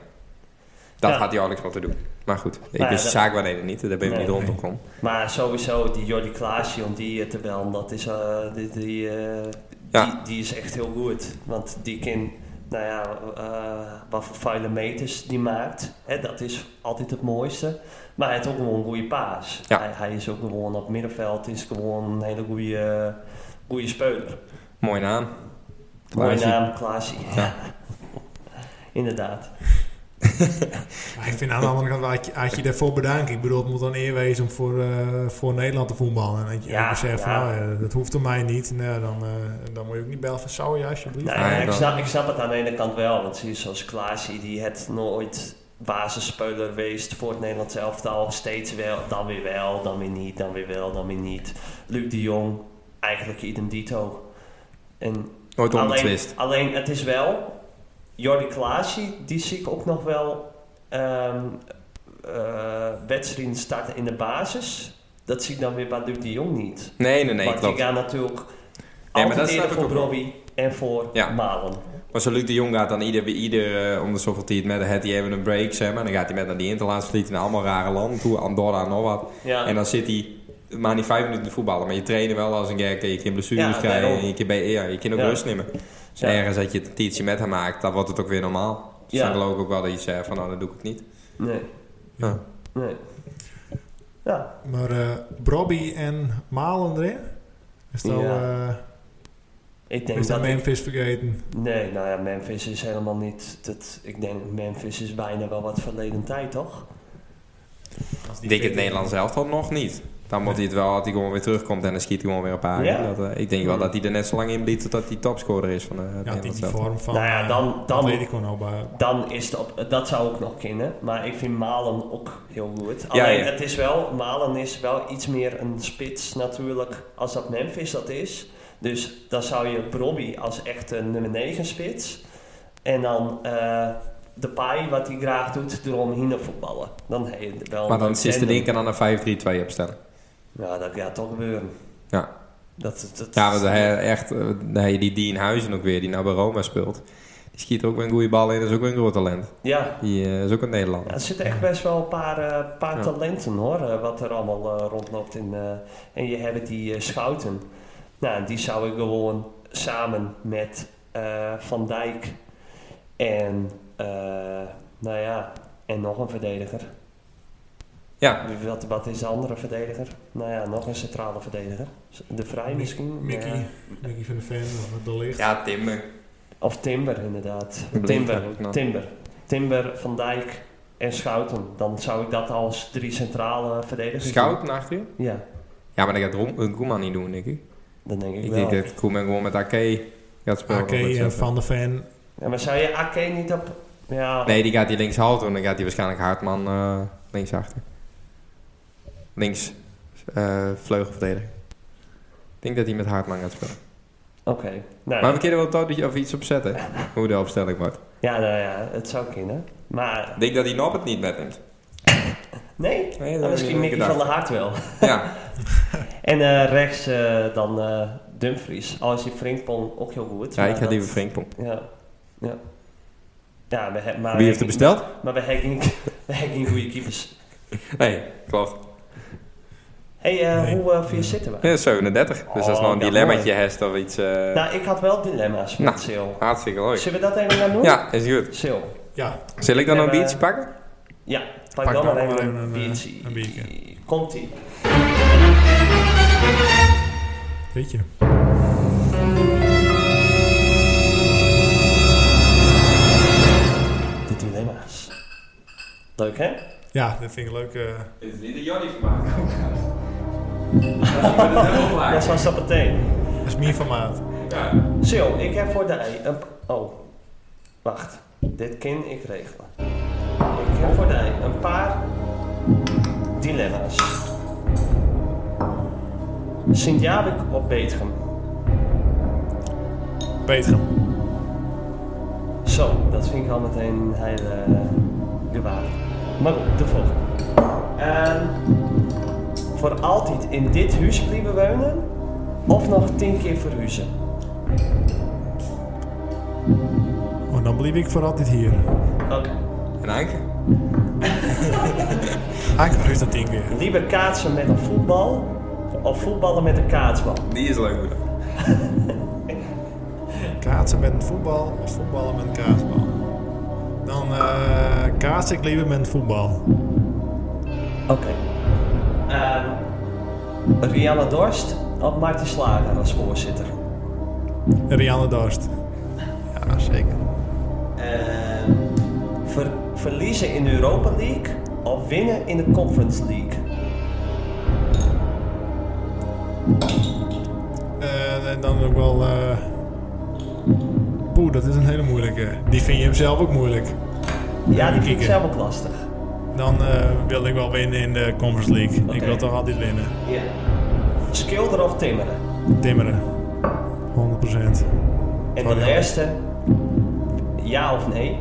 Speaker 1: Ja. Nou
Speaker 3: had hij Orlix moeten doen. Maar goed, ik
Speaker 1: ja,
Speaker 3: wist de
Speaker 1: dat-
Speaker 3: zaak waarheden niet. Daar ben ik
Speaker 1: Nee,
Speaker 3: niet rond
Speaker 2: nee.
Speaker 3: gekomen.
Speaker 1: Maar sowieso, die Jordi Klaasje, om die eh, te bellen, dat is, eh, die, die, eh,
Speaker 3: Ja.
Speaker 1: die, die is echt heel goed. Want die kan, nou ja, eh, wat voor vuile meters die maakt, hè, dat is altijd het mooiste. Maar hij heeft ook gewoon een goede paas.
Speaker 3: Ja.
Speaker 1: Hij, hij is ook gewoon op middenveld, is gewoon een hele goede, goede speler.
Speaker 3: Mooie naam.
Speaker 1: Mooie
Speaker 3: Klaasje.
Speaker 1: naam, Klaasje.
Speaker 3: Ja.
Speaker 1: Inderdaad.
Speaker 2: Maar ik vind aan de andere kant, had je, had je daarvoor bedankt. Ik bedoel, het moet dan eer wezen om voor, eh, voor Nederland te voetballen. En dat je
Speaker 1: Ja,
Speaker 2: ja, beseft,
Speaker 1: ja.
Speaker 2: nou, eh, dat hoeft er mij niet. Nou, dan, eh, dan moet je ook niet bellen van, zou je alsjeblieft?
Speaker 1: Nou,
Speaker 3: Nee,
Speaker 1: ik,
Speaker 3: dan-
Speaker 1: snap, ik snap het aan de ene kant wel, want zie je, zoals Klaasje, die het nooit basisspeler geweest voor het Nederlands elftal. Steeds wel, dan weer wel, dan weer niet, dan weer wel, dan weer niet. Luc de Jong, eigenlijk idem dito. En
Speaker 3: Nooit
Speaker 1: alleen,
Speaker 3: onbetwist.
Speaker 1: alleen, het is wel... Jordi Klaasie, die zie ik ook nog wel ehm eh, wedstrijden starten in de basis. Dat zie ik dan weer bij Luc de Jong niet.
Speaker 3: Nee, nee, nee,
Speaker 1: Want die
Speaker 3: klopt.
Speaker 1: gaan natuurlijk
Speaker 3: maar
Speaker 1: altijd
Speaker 3: dat snap
Speaker 1: eerder
Speaker 3: ik
Speaker 1: voor
Speaker 3: ook wel.
Speaker 1: Robbie en voor
Speaker 3: Ja.
Speaker 1: Malen.
Speaker 3: Maar zo Luc de Jong gaat dan ieder, bij ieder eh, om de zoveel tijd met de het, die hebben een break, zeg maar. Dan gaat hij met naar die Interlands vliegen naar allemaal rare landen toe, Andorra en nog wat.
Speaker 1: Ja.
Speaker 3: En dan zit hij maar niet vijf minuten te voetballen. Maar je trainen wel als een gek, eh, je kan blessures
Speaker 1: Ja,
Speaker 3: krijgen,
Speaker 1: daarom.
Speaker 3: en je kan, bij, ja, je kan ook
Speaker 1: Ja.
Speaker 3: rust nemen. Dus
Speaker 1: Ja.
Speaker 3: ergens dat je het een tietje met hem maakt, dan wordt het ook weer normaal. Dus
Speaker 1: Ja.
Speaker 3: dan geloof ik ook wel dat je zegt van, nou, dan doe ik het niet.
Speaker 1: Nee,
Speaker 3: Ja.
Speaker 1: nee. Ja,
Speaker 2: Maar eh Robbie en Malen erin? Is dat,
Speaker 1: Ja.
Speaker 2: eh,
Speaker 1: ik denk
Speaker 2: is dat
Speaker 1: dat... ik-
Speaker 2: Memphis vergeten?
Speaker 1: nee, nou ja, Memphis is helemaal niet... Dat, ik denk, Memphis is bijna wel wat verleden tijd, toch?
Speaker 3: Ik denk het Nederlands elftal nog niet. Dan moet hij het wel, dat hij gewoon weer terugkomt en dan schiet hij gewoon weer een paar.
Speaker 1: Ja.
Speaker 3: in. Dat, eh, ik denk wel dat hij er net zo lang in blijft totdat hij topscorer is van de
Speaker 2: Ja, die,
Speaker 3: Nederlands
Speaker 2: die
Speaker 3: elftal.
Speaker 2: vorm van
Speaker 1: Nou ja, dan-
Speaker 2: eh,
Speaker 1: dan-
Speaker 2: Atletico nou bij.
Speaker 1: Dan is het op, dat zou ook nog kunnen. Maar ik vind Malen ook heel goed.
Speaker 3: Ja,
Speaker 1: Alleen
Speaker 3: ja.
Speaker 1: het is wel, Malen is wel iets meer een spits natuurlijk als dat Memphis dat is. Dus dan zou je Brobby als echte nummer 9 spits. En dan eh de paai wat hij graag doet, eromheen voetballen. Dan heb je wel
Speaker 3: Maar dan
Speaker 1: een
Speaker 3: is te
Speaker 1: tandem.
Speaker 3: denken aan een 5-3-2 opstellen.
Speaker 1: Ja, dat gaat toch gebeuren.
Speaker 3: Ja.
Speaker 1: Dat, dat,
Speaker 3: Ja, want hij echt, eh, dan heb je die Dean Huizen ook weer, die nou bij Roma speelt. Die schiet ook weer een goede bal in, dat is ook weer een groot talent.
Speaker 1: ja.
Speaker 3: Die eh, is ook een
Speaker 1: Ja,
Speaker 3: Nederlander.
Speaker 1: er zitten echt best wel een paar, eh, paar
Speaker 3: Ja.
Speaker 1: talenten hoor, eh, wat er allemaal eh, rondloopt. In, eh, en je hebt die eh, schouten. Nou, die zou ik gewoon samen met eh, Van Dijk en, eh, nou ja, en nog een verdediger.
Speaker 3: Ja,
Speaker 1: Wat, wat is de andere verdediger? Nou ja, nog een centrale verdediger. De Vrij misschien?
Speaker 2: Mickey,
Speaker 1: Ja.
Speaker 2: Mickey van de Ven of de Licht.
Speaker 3: ja Timmer.
Speaker 1: Of Timber inderdaad.
Speaker 3: Blind,
Speaker 1: Timber,
Speaker 3: ja, ook nog.
Speaker 1: Timber. Timber, Van Dijk en Schouten. Dan zou ik dat als drie centrale verdedigers doen.
Speaker 3: Schout achterin?
Speaker 1: Ja,
Speaker 3: Ja, maar dat gaat Roem- Koeman niet doen, denk ik.
Speaker 1: dat denk ik,
Speaker 3: Ik
Speaker 1: wel.
Speaker 3: denk dat Koeman gewoon met AK gaat spelen.
Speaker 2: AK
Speaker 3: of met
Speaker 2: en
Speaker 3: Zetten.
Speaker 2: Van de Ven.
Speaker 1: Ja, maar zou je AK niet op... Ja,
Speaker 3: Nee, die gaat die links houden en dan gaat hij waarschijnlijk Hartman eh links achter. Links eh vleugelverdediger. Ik denk dat hij met Hartman gaat spelen.
Speaker 1: oké. Nou,
Speaker 3: Maar we kunnen wel touwtje of iets opzetten. Hoe de opstelling wordt.
Speaker 1: ja, nou ja, het zou kunnen. Maar
Speaker 3: Ik denk dat hij Nob het niet metneemt.
Speaker 1: nee,
Speaker 3: Nee, dat
Speaker 1: dan
Speaker 3: heb ik
Speaker 1: misschien
Speaker 3: niet
Speaker 1: Mickey van der
Speaker 3: gedacht.
Speaker 1: Hart wel.
Speaker 3: Ja,
Speaker 1: En eh, rechts eh, dan eh, Dumfries. Al is die Frinkpong ook heel goed.
Speaker 3: ja
Speaker 1: maar
Speaker 3: ik ga
Speaker 1: dat-
Speaker 3: liever Frinkpong.
Speaker 1: Ja, ja. Ah, Ja, we hebben... maar
Speaker 3: Wie heeft
Speaker 1: we-
Speaker 3: er besteld?
Speaker 1: Maar we hebben niet- we hebben niet goede keepers.
Speaker 3: Nee, klopt.
Speaker 1: Hé, hey,
Speaker 2: Nee.
Speaker 1: hoe eh vier zitten we?
Speaker 3: Ja, 37. Dus als
Speaker 1: Oh,
Speaker 3: nog een
Speaker 1: ja,
Speaker 3: dilemmaatje hebt of iets... eh,
Speaker 1: Nou, ik had wel dilemma's met
Speaker 3: Nou.
Speaker 1: Sil.
Speaker 3: hartstikke leuk.
Speaker 1: Zullen we dat even gaan doen?
Speaker 3: Ja, is goed.
Speaker 1: Sil.
Speaker 2: Ja,
Speaker 3: Zal ik dan
Speaker 1: Ja,
Speaker 3: nog een
Speaker 1: maar-
Speaker 3: biertje pakken?
Speaker 1: Ja, pak,
Speaker 2: Pak
Speaker 1: dan
Speaker 2: dan
Speaker 1: maar even
Speaker 2: maar
Speaker 1: een
Speaker 2: even een, eh,
Speaker 1: biertje.
Speaker 2: een biertje.
Speaker 1: Komt-ie.
Speaker 2: weet je.
Speaker 1: De dilemma's. Leuk hè?
Speaker 2: Ja, dat vind ik leuk. eh.
Speaker 3: Dit is niet de Jordi van mij.
Speaker 1: Dat was dat meteen.
Speaker 2: dat is meer formaat.
Speaker 1: Zo, ik heb voor de ei een... Oh, wacht. Dit kan ik regelen. Ik heb voor de ei een paar dilemma's. Sint-Jabik op Betegem.
Speaker 2: Beter.
Speaker 1: Zo, dat vind ik al meteen een hele gewaarde. Maar goed, de volgende. Ehm, voor altijd in dit huis blijven wonen of nog tien keer verhuizen?
Speaker 2: Oh, dan blijf ik voor altijd hier.
Speaker 1: Oké.
Speaker 3: En Anke?
Speaker 2: Haak verhuist Ah, dat ding weer.
Speaker 1: Liever kaatsen met een voetbal of voetballen met een kaatsbal?
Speaker 3: Die is leuk hoor.
Speaker 2: Kaatsen met een voetbal of voetballen met een kaasbal. Dan eh kaats ik liever met een voetbal.
Speaker 1: Oké. Ehm, Rianne Dorst of Marten Slager als voorzitter?
Speaker 2: Rianne Dorst. Ja, zeker.
Speaker 1: Ehm, ver- verliezen in de Europa League of winnen in de Conference League?
Speaker 2: Eh, en dan ook wel... eh Poeh, dat is een hele moeilijke. Die vind je hem zelf ook moeilijk.
Speaker 1: Ja, die vind ik
Speaker 2: kieken.
Speaker 1: zelf ook lastig.
Speaker 2: Dan eh, wil ik wel winnen in de Conference League. Ik
Speaker 1: Oké.
Speaker 2: wil toch altijd winnen.
Speaker 1: Ja. Schilderen of timmeren?
Speaker 2: Timmeren. 100%.
Speaker 1: En
Speaker 2: Oh,
Speaker 1: de
Speaker 2: ja.
Speaker 1: laatste, ja of nee?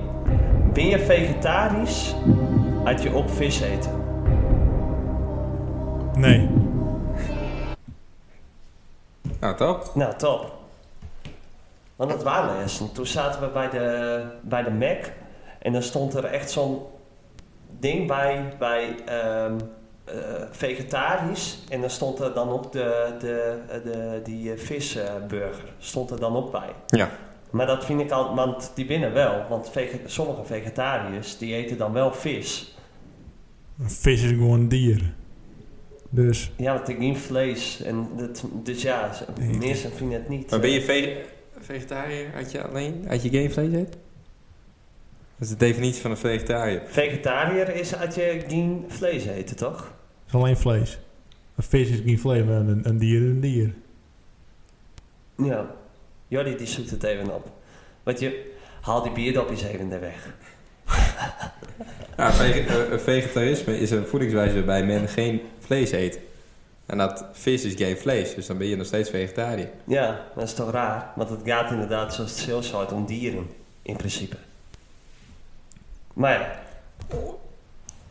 Speaker 1: Ben je vegetarisch uit je op vis eten?
Speaker 2: Nee.
Speaker 3: Nou, top.
Speaker 1: Nou, top. Want dat waren les. En toen zaten we bij de, bij de Mac. En dan stond er echt zo'n ding bij, bij ehm, eh, vegetarisch. En dan stond er dan ook de, de, de, die eh, visburger. Stond er dan ook bij.
Speaker 3: Ja.
Speaker 1: Maar dat vind ik al, want die winnen wel. Want vege- sommige vegetariërs, die eten dan wel vis.
Speaker 2: Een vis is gewoon een dier. Dus
Speaker 1: Ja, want ik neem vlees. En dat, dus ja, ze-
Speaker 2: Nee.
Speaker 1: mensen vinden het niet.
Speaker 3: Maar ben je ve- vegetariër uit je alleen, uit je gamevlees eet? Dat is de definitie van een vegetariër.
Speaker 1: Vegetariër is uit je geen vlees eten, toch?
Speaker 2: het is alleen vlees. Een vis is geen vlees, maar een, een dier is een dier.
Speaker 1: Ja. Jordi, die zoekt het even op. Want je, haal die bierdopjes even er weg.
Speaker 3: Ja, vege- eh, eh, vegetarisme is een voedingswijze waarbij men geen vlees eet. En dat vis is geen vlees, dus dan ben je nog steeds vegetariër.
Speaker 1: Ja, dat is toch raar? Want het gaat inderdaad, zoals het zelfs uit, om dieren. In principe. Maar ja,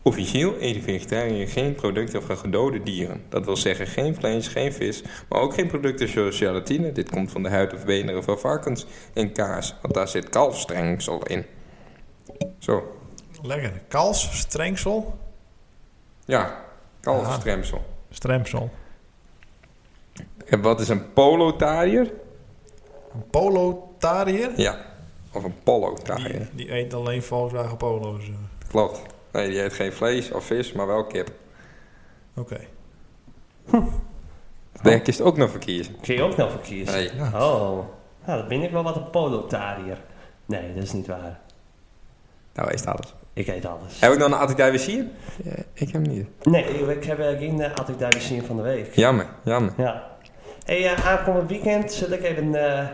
Speaker 3: Officieel eet vegetariër geen producten van gedode dieren. Dat wil zeggen geen vlees, geen vis, maar ook geen producten zoals gelatine. Dit komt van de huid of benen van varkens en kaas, want daar zit kalfstrengsel in. Zo,
Speaker 2: Lekker. Kals, strengsel,
Speaker 3: ja, kalfstrengsel.
Speaker 2: stremsel.
Speaker 3: En wat is een polotariër?
Speaker 2: Een polotariër.
Speaker 3: Ja, of een polotariër.
Speaker 2: Die, die eet alleen Volkswagen Polo's. eh.
Speaker 3: Klopt. Nee, die eet geen vlees of vis, maar wel kip.
Speaker 2: Oké.
Speaker 3: Werk is het ook nog verkeerd.
Speaker 1: kun je ook nog voor kiezen.
Speaker 3: Nee.
Speaker 1: Oh, nou, dat ben ik wel wat een polotariër. Nee, dat is niet waar.
Speaker 3: Nou, is dat alles.
Speaker 1: Ik eet alles.
Speaker 3: Heb ik dan een Attic weer zien? ik heb hem niet.
Speaker 1: Nee, ik heb eh, geen uh, Attic Divisier van de week.
Speaker 3: Jammer, jammer.
Speaker 1: Ja. Hé, hey, eh, aankomend weekend zit ik even eh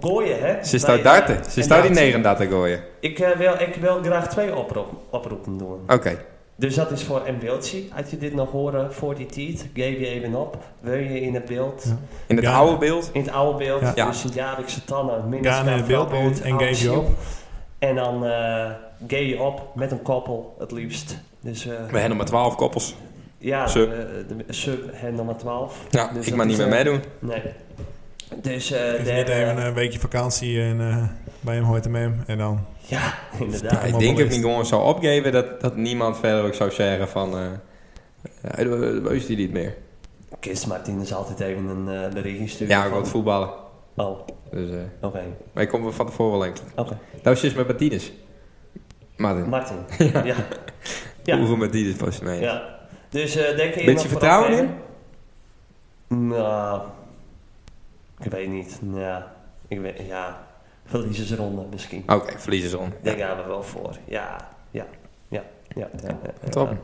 Speaker 1: gooien, hè?
Speaker 3: Ze
Speaker 1: Bij,
Speaker 3: staat
Speaker 1: eh,
Speaker 3: darten. Ze staat die
Speaker 1: inderdaad.
Speaker 3: 39 gooien.
Speaker 1: Ik, eh, wil, ik wil graag twee oproep, oproepen doen.
Speaker 3: Oké.
Speaker 1: Dus dat is voor een beeldje. Had je dit nog horen voor die tijd, geef je even op. Wil je in het beeld,
Speaker 3: In het
Speaker 2: Ja.
Speaker 3: oude beeld.
Speaker 1: in het oude beeld,
Speaker 2: Ja.
Speaker 1: dus een jaarlijkse tannen,
Speaker 2: Ga naar het beeldpunt en geef je op.
Speaker 1: En dan eh geef je op met een koppel, het liefst. Dus eh,
Speaker 3: We hebben maar 12 koppels.
Speaker 1: ja,
Speaker 3: Sub.
Speaker 1: de, de sub en nummer 12.
Speaker 3: Ja,
Speaker 1: Dus
Speaker 3: ik
Speaker 1: dat
Speaker 3: mag niet
Speaker 1: is,
Speaker 3: meer
Speaker 1: eh,
Speaker 3: meedoen.
Speaker 1: Nee. Dus eh
Speaker 2: Is
Speaker 1: de-
Speaker 2: dit even een weekje vakantie en, eh, bij hem hoort hem hem. En dan
Speaker 1: Ja,
Speaker 3: Ja,
Speaker 1: inderdaad.
Speaker 3: ik
Speaker 2: allemaal
Speaker 3: denk dat ik
Speaker 2: belicht.
Speaker 3: niet gewoon zou opgeven dat, dat niemand verder ook zou zeggen van... eh ja, we- we is die niet meer.
Speaker 1: Kist Martinez altijd even een eh berichtje sturen.
Speaker 3: Ja, ik
Speaker 1: van-
Speaker 3: wil het voetballen.
Speaker 1: Oh, oké.
Speaker 3: Dus, eh, maar ik kom er van tevoren wel enkele.
Speaker 1: Oké.
Speaker 3: Dat is dus met Martinez. Martin.
Speaker 1: Martin. ja. Ja. ja.
Speaker 3: Hoeveel Martinez was je mee?
Speaker 1: Dus eh denk je...
Speaker 3: Beetje vertrouwen
Speaker 1: in? Nou, ik weet niet. Ja, ik weet... Ja, verliezersronde misschien.
Speaker 3: Oké, verliezen ze om. Ja.
Speaker 1: Daar gaan we wel voor. Ja, ja, ja, ja. ja, ja.
Speaker 3: Top.
Speaker 1: Ja.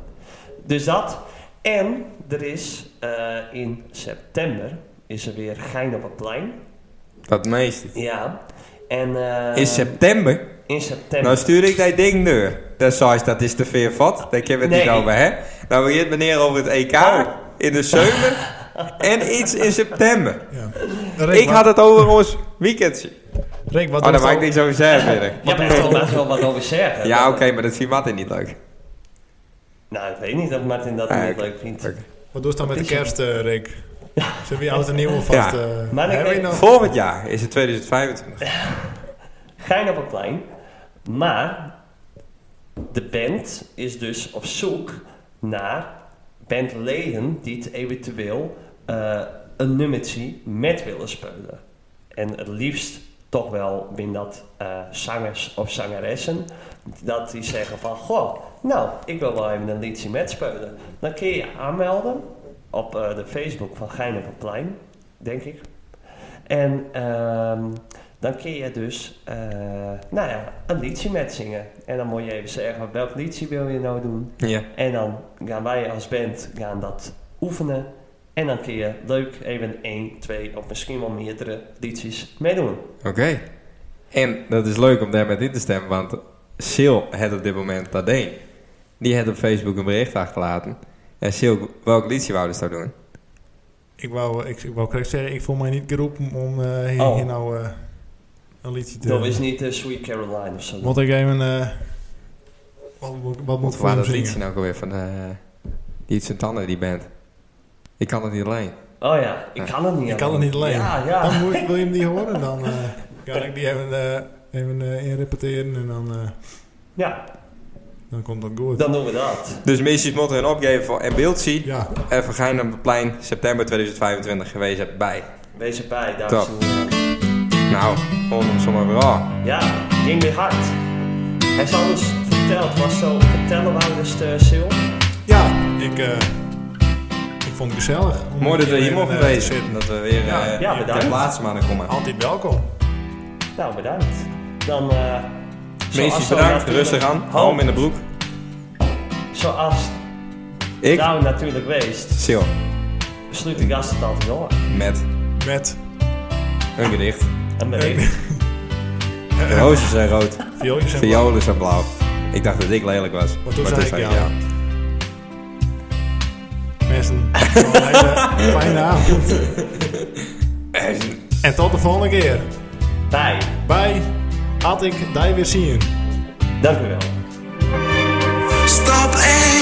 Speaker 1: Dus dat. En er is eh, in september is er weer Gein op het plein.
Speaker 3: Dat meeste.
Speaker 1: Ja. En eh,
Speaker 3: In september?
Speaker 1: in september.
Speaker 3: Nou stuur ik dat ding door. Dat zei ze, dat is te veel vat. Daar kunnen we het
Speaker 1: Nee. Oh.
Speaker 3: niet over, hè? Nou begint meneer over het EK in de zomer en iets in september.
Speaker 2: Ja.
Speaker 3: Ik had het over ons weekendje.
Speaker 2: Rick, wat
Speaker 3: Oh, daar
Speaker 2: doet
Speaker 3: mag ik
Speaker 2: al-
Speaker 3: niks over zeggen verder.
Speaker 1: Ja, maar ik wil daar wel wat over zeggen.
Speaker 3: Ja, oké, maar dat vindt Martin niet leuk.
Speaker 1: Nou, ik weet niet of Martin dat
Speaker 3: Ah,
Speaker 1: niet
Speaker 3: oké.
Speaker 1: leuk vindt.
Speaker 3: Oké.
Speaker 2: Wat doe je dan met de kerst, eh, Rick? Zullen we je oud en nieuw alvast...
Speaker 3: Ja.
Speaker 2: eh,
Speaker 1: Maar ik
Speaker 2: hebben we
Speaker 1: denk-
Speaker 2: nog?
Speaker 3: Volgend jaar is het 2025.
Speaker 1: Gein op het plein. Maar de band is dus op zoek naar bandleden die het eventueel eh, een nummertje met willen spelen. En het liefst toch wel binnen dat eh, zangers of zangeressen, dat die zeggen van, goh, nou, ik wil wel even een liedje met spelen. Dan kun je je aanmelden op eh, de Facebook van Gein op het plein, denk ik. En ehm, dan kun je dus, eh, nou ja, een liedje met zingen. En dan moet je even zeggen, welk liedje wil je nou doen?
Speaker 3: Ja.
Speaker 1: En dan gaan wij als band gaan dat oefenen. En dan kun je leuk even één, twee of misschien wel meerdere liedjes meedoen.
Speaker 3: Oké. En dat is leuk om daar met in te stemmen, want Sil had op dit moment dat deed. Die had op Facebook een bericht achterlaten. En Sil, welk liedje wou dus daar doen?
Speaker 2: Ik wou, ik, ik wou correct zeggen, ik voel mij niet geroepen om eh, hier,
Speaker 1: Oh.
Speaker 2: hier nou eh, een liedje te
Speaker 1: Dat is niet eh, Sweet Caroline of zo.
Speaker 2: Moet ik even... eh, wat, wat, wat moet
Speaker 3: Wat
Speaker 2: ik
Speaker 3: was
Speaker 2: voor hem
Speaker 3: dat
Speaker 2: zingen?
Speaker 3: liedje nou ook alweer van... eh die heeft zijn tanden, die band. Ik kan het niet alleen.
Speaker 1: Oh ja, ik kan het niet.
Speaker 2: Ik kan het niet alleen.
Speaker 1: Ja, ja.
Speaker 2: Dan moet, wil je hem niet horen, dan eh, kan ik die even, eh, even eh, inrepeteren en dan, eh,
Speaker 1: Ja,
Speaker 2: dan komt dat goed.
Speaker 1: dan doen we dat.
Speaker 3: Dus missies moeten hun opgeven voor- en beeld zien.
Speaker 2: Ja,
Speaker 3: En we gaan op het plein september 2025 geweest bij.
Speaker 1: Wees erbij, dames en heren.
Speaker 3: Nou, volgens hem zomaar weer aan.
Speaker 1: Ja, ging weer hard. Hij is alles verteld. Was zo vertellen waar dus de Sil.
Speaker 2: ja ik, eh, ik vond het gezellig. om
Speaker 3: Mooi dat we
Speaker 2: keer
Speaker 3: hier
Speaker 2: in,
Speaker 3: mogen
Speaker 2: eh, te
Speaker 3: wezen.
Speaker 2: zitten.
Speaker 3: Dat we weer
Speaker 2: Ja,
Speaker 3: eh,
Speaker 1: ja, bedankt.
Speaker 3: de laatste maanden komen.
Speaker 2: Altijd welkom.
Speaker 1: Nou, bedankt. Dan. eh zoals
Speaker 3: Meisjes
Speaker 1: zo
Speaker 3: bedankt,
Speaker 1: natuurlijk-
Speaker 3: rustig aan.
Speaker 1: Ho,
Speaker 3: Hou hem in de broek.
Speaker 1: Zoals
Speaker 3: Ik,
Speaker 1: nou natuurlijk weest,
Speaker 3: Sil,
Speaker 1: sluit de gast het altijd door.
Speaker 3: met
Speaker 2: Met
Speaker 3: een gedicht.
Speaker 1: En bericht.
Speaker 3: De rozen zijn rood,
Speaker 2: viooltjes en
Speaker 3: violen zijn blauw. Ik dacht dat ik lelijk was.
Speaker 2: Maar toen
Speaker 3: maar
Speaker 2: zei
Speaker 3: toen
Speaker 2: ik
Speaker 3: zei
Speaker 2: ja.
Speaker 3: ik ja.
Speaker 2: mensen. Nog een hele Fijne avond. En tot de volgende keer.
Speaker 1: Bij.
Speaker 2: Bij Had ik die weer zien.
Speaker 1: Dank u wel.
Speaker 5: Stap 1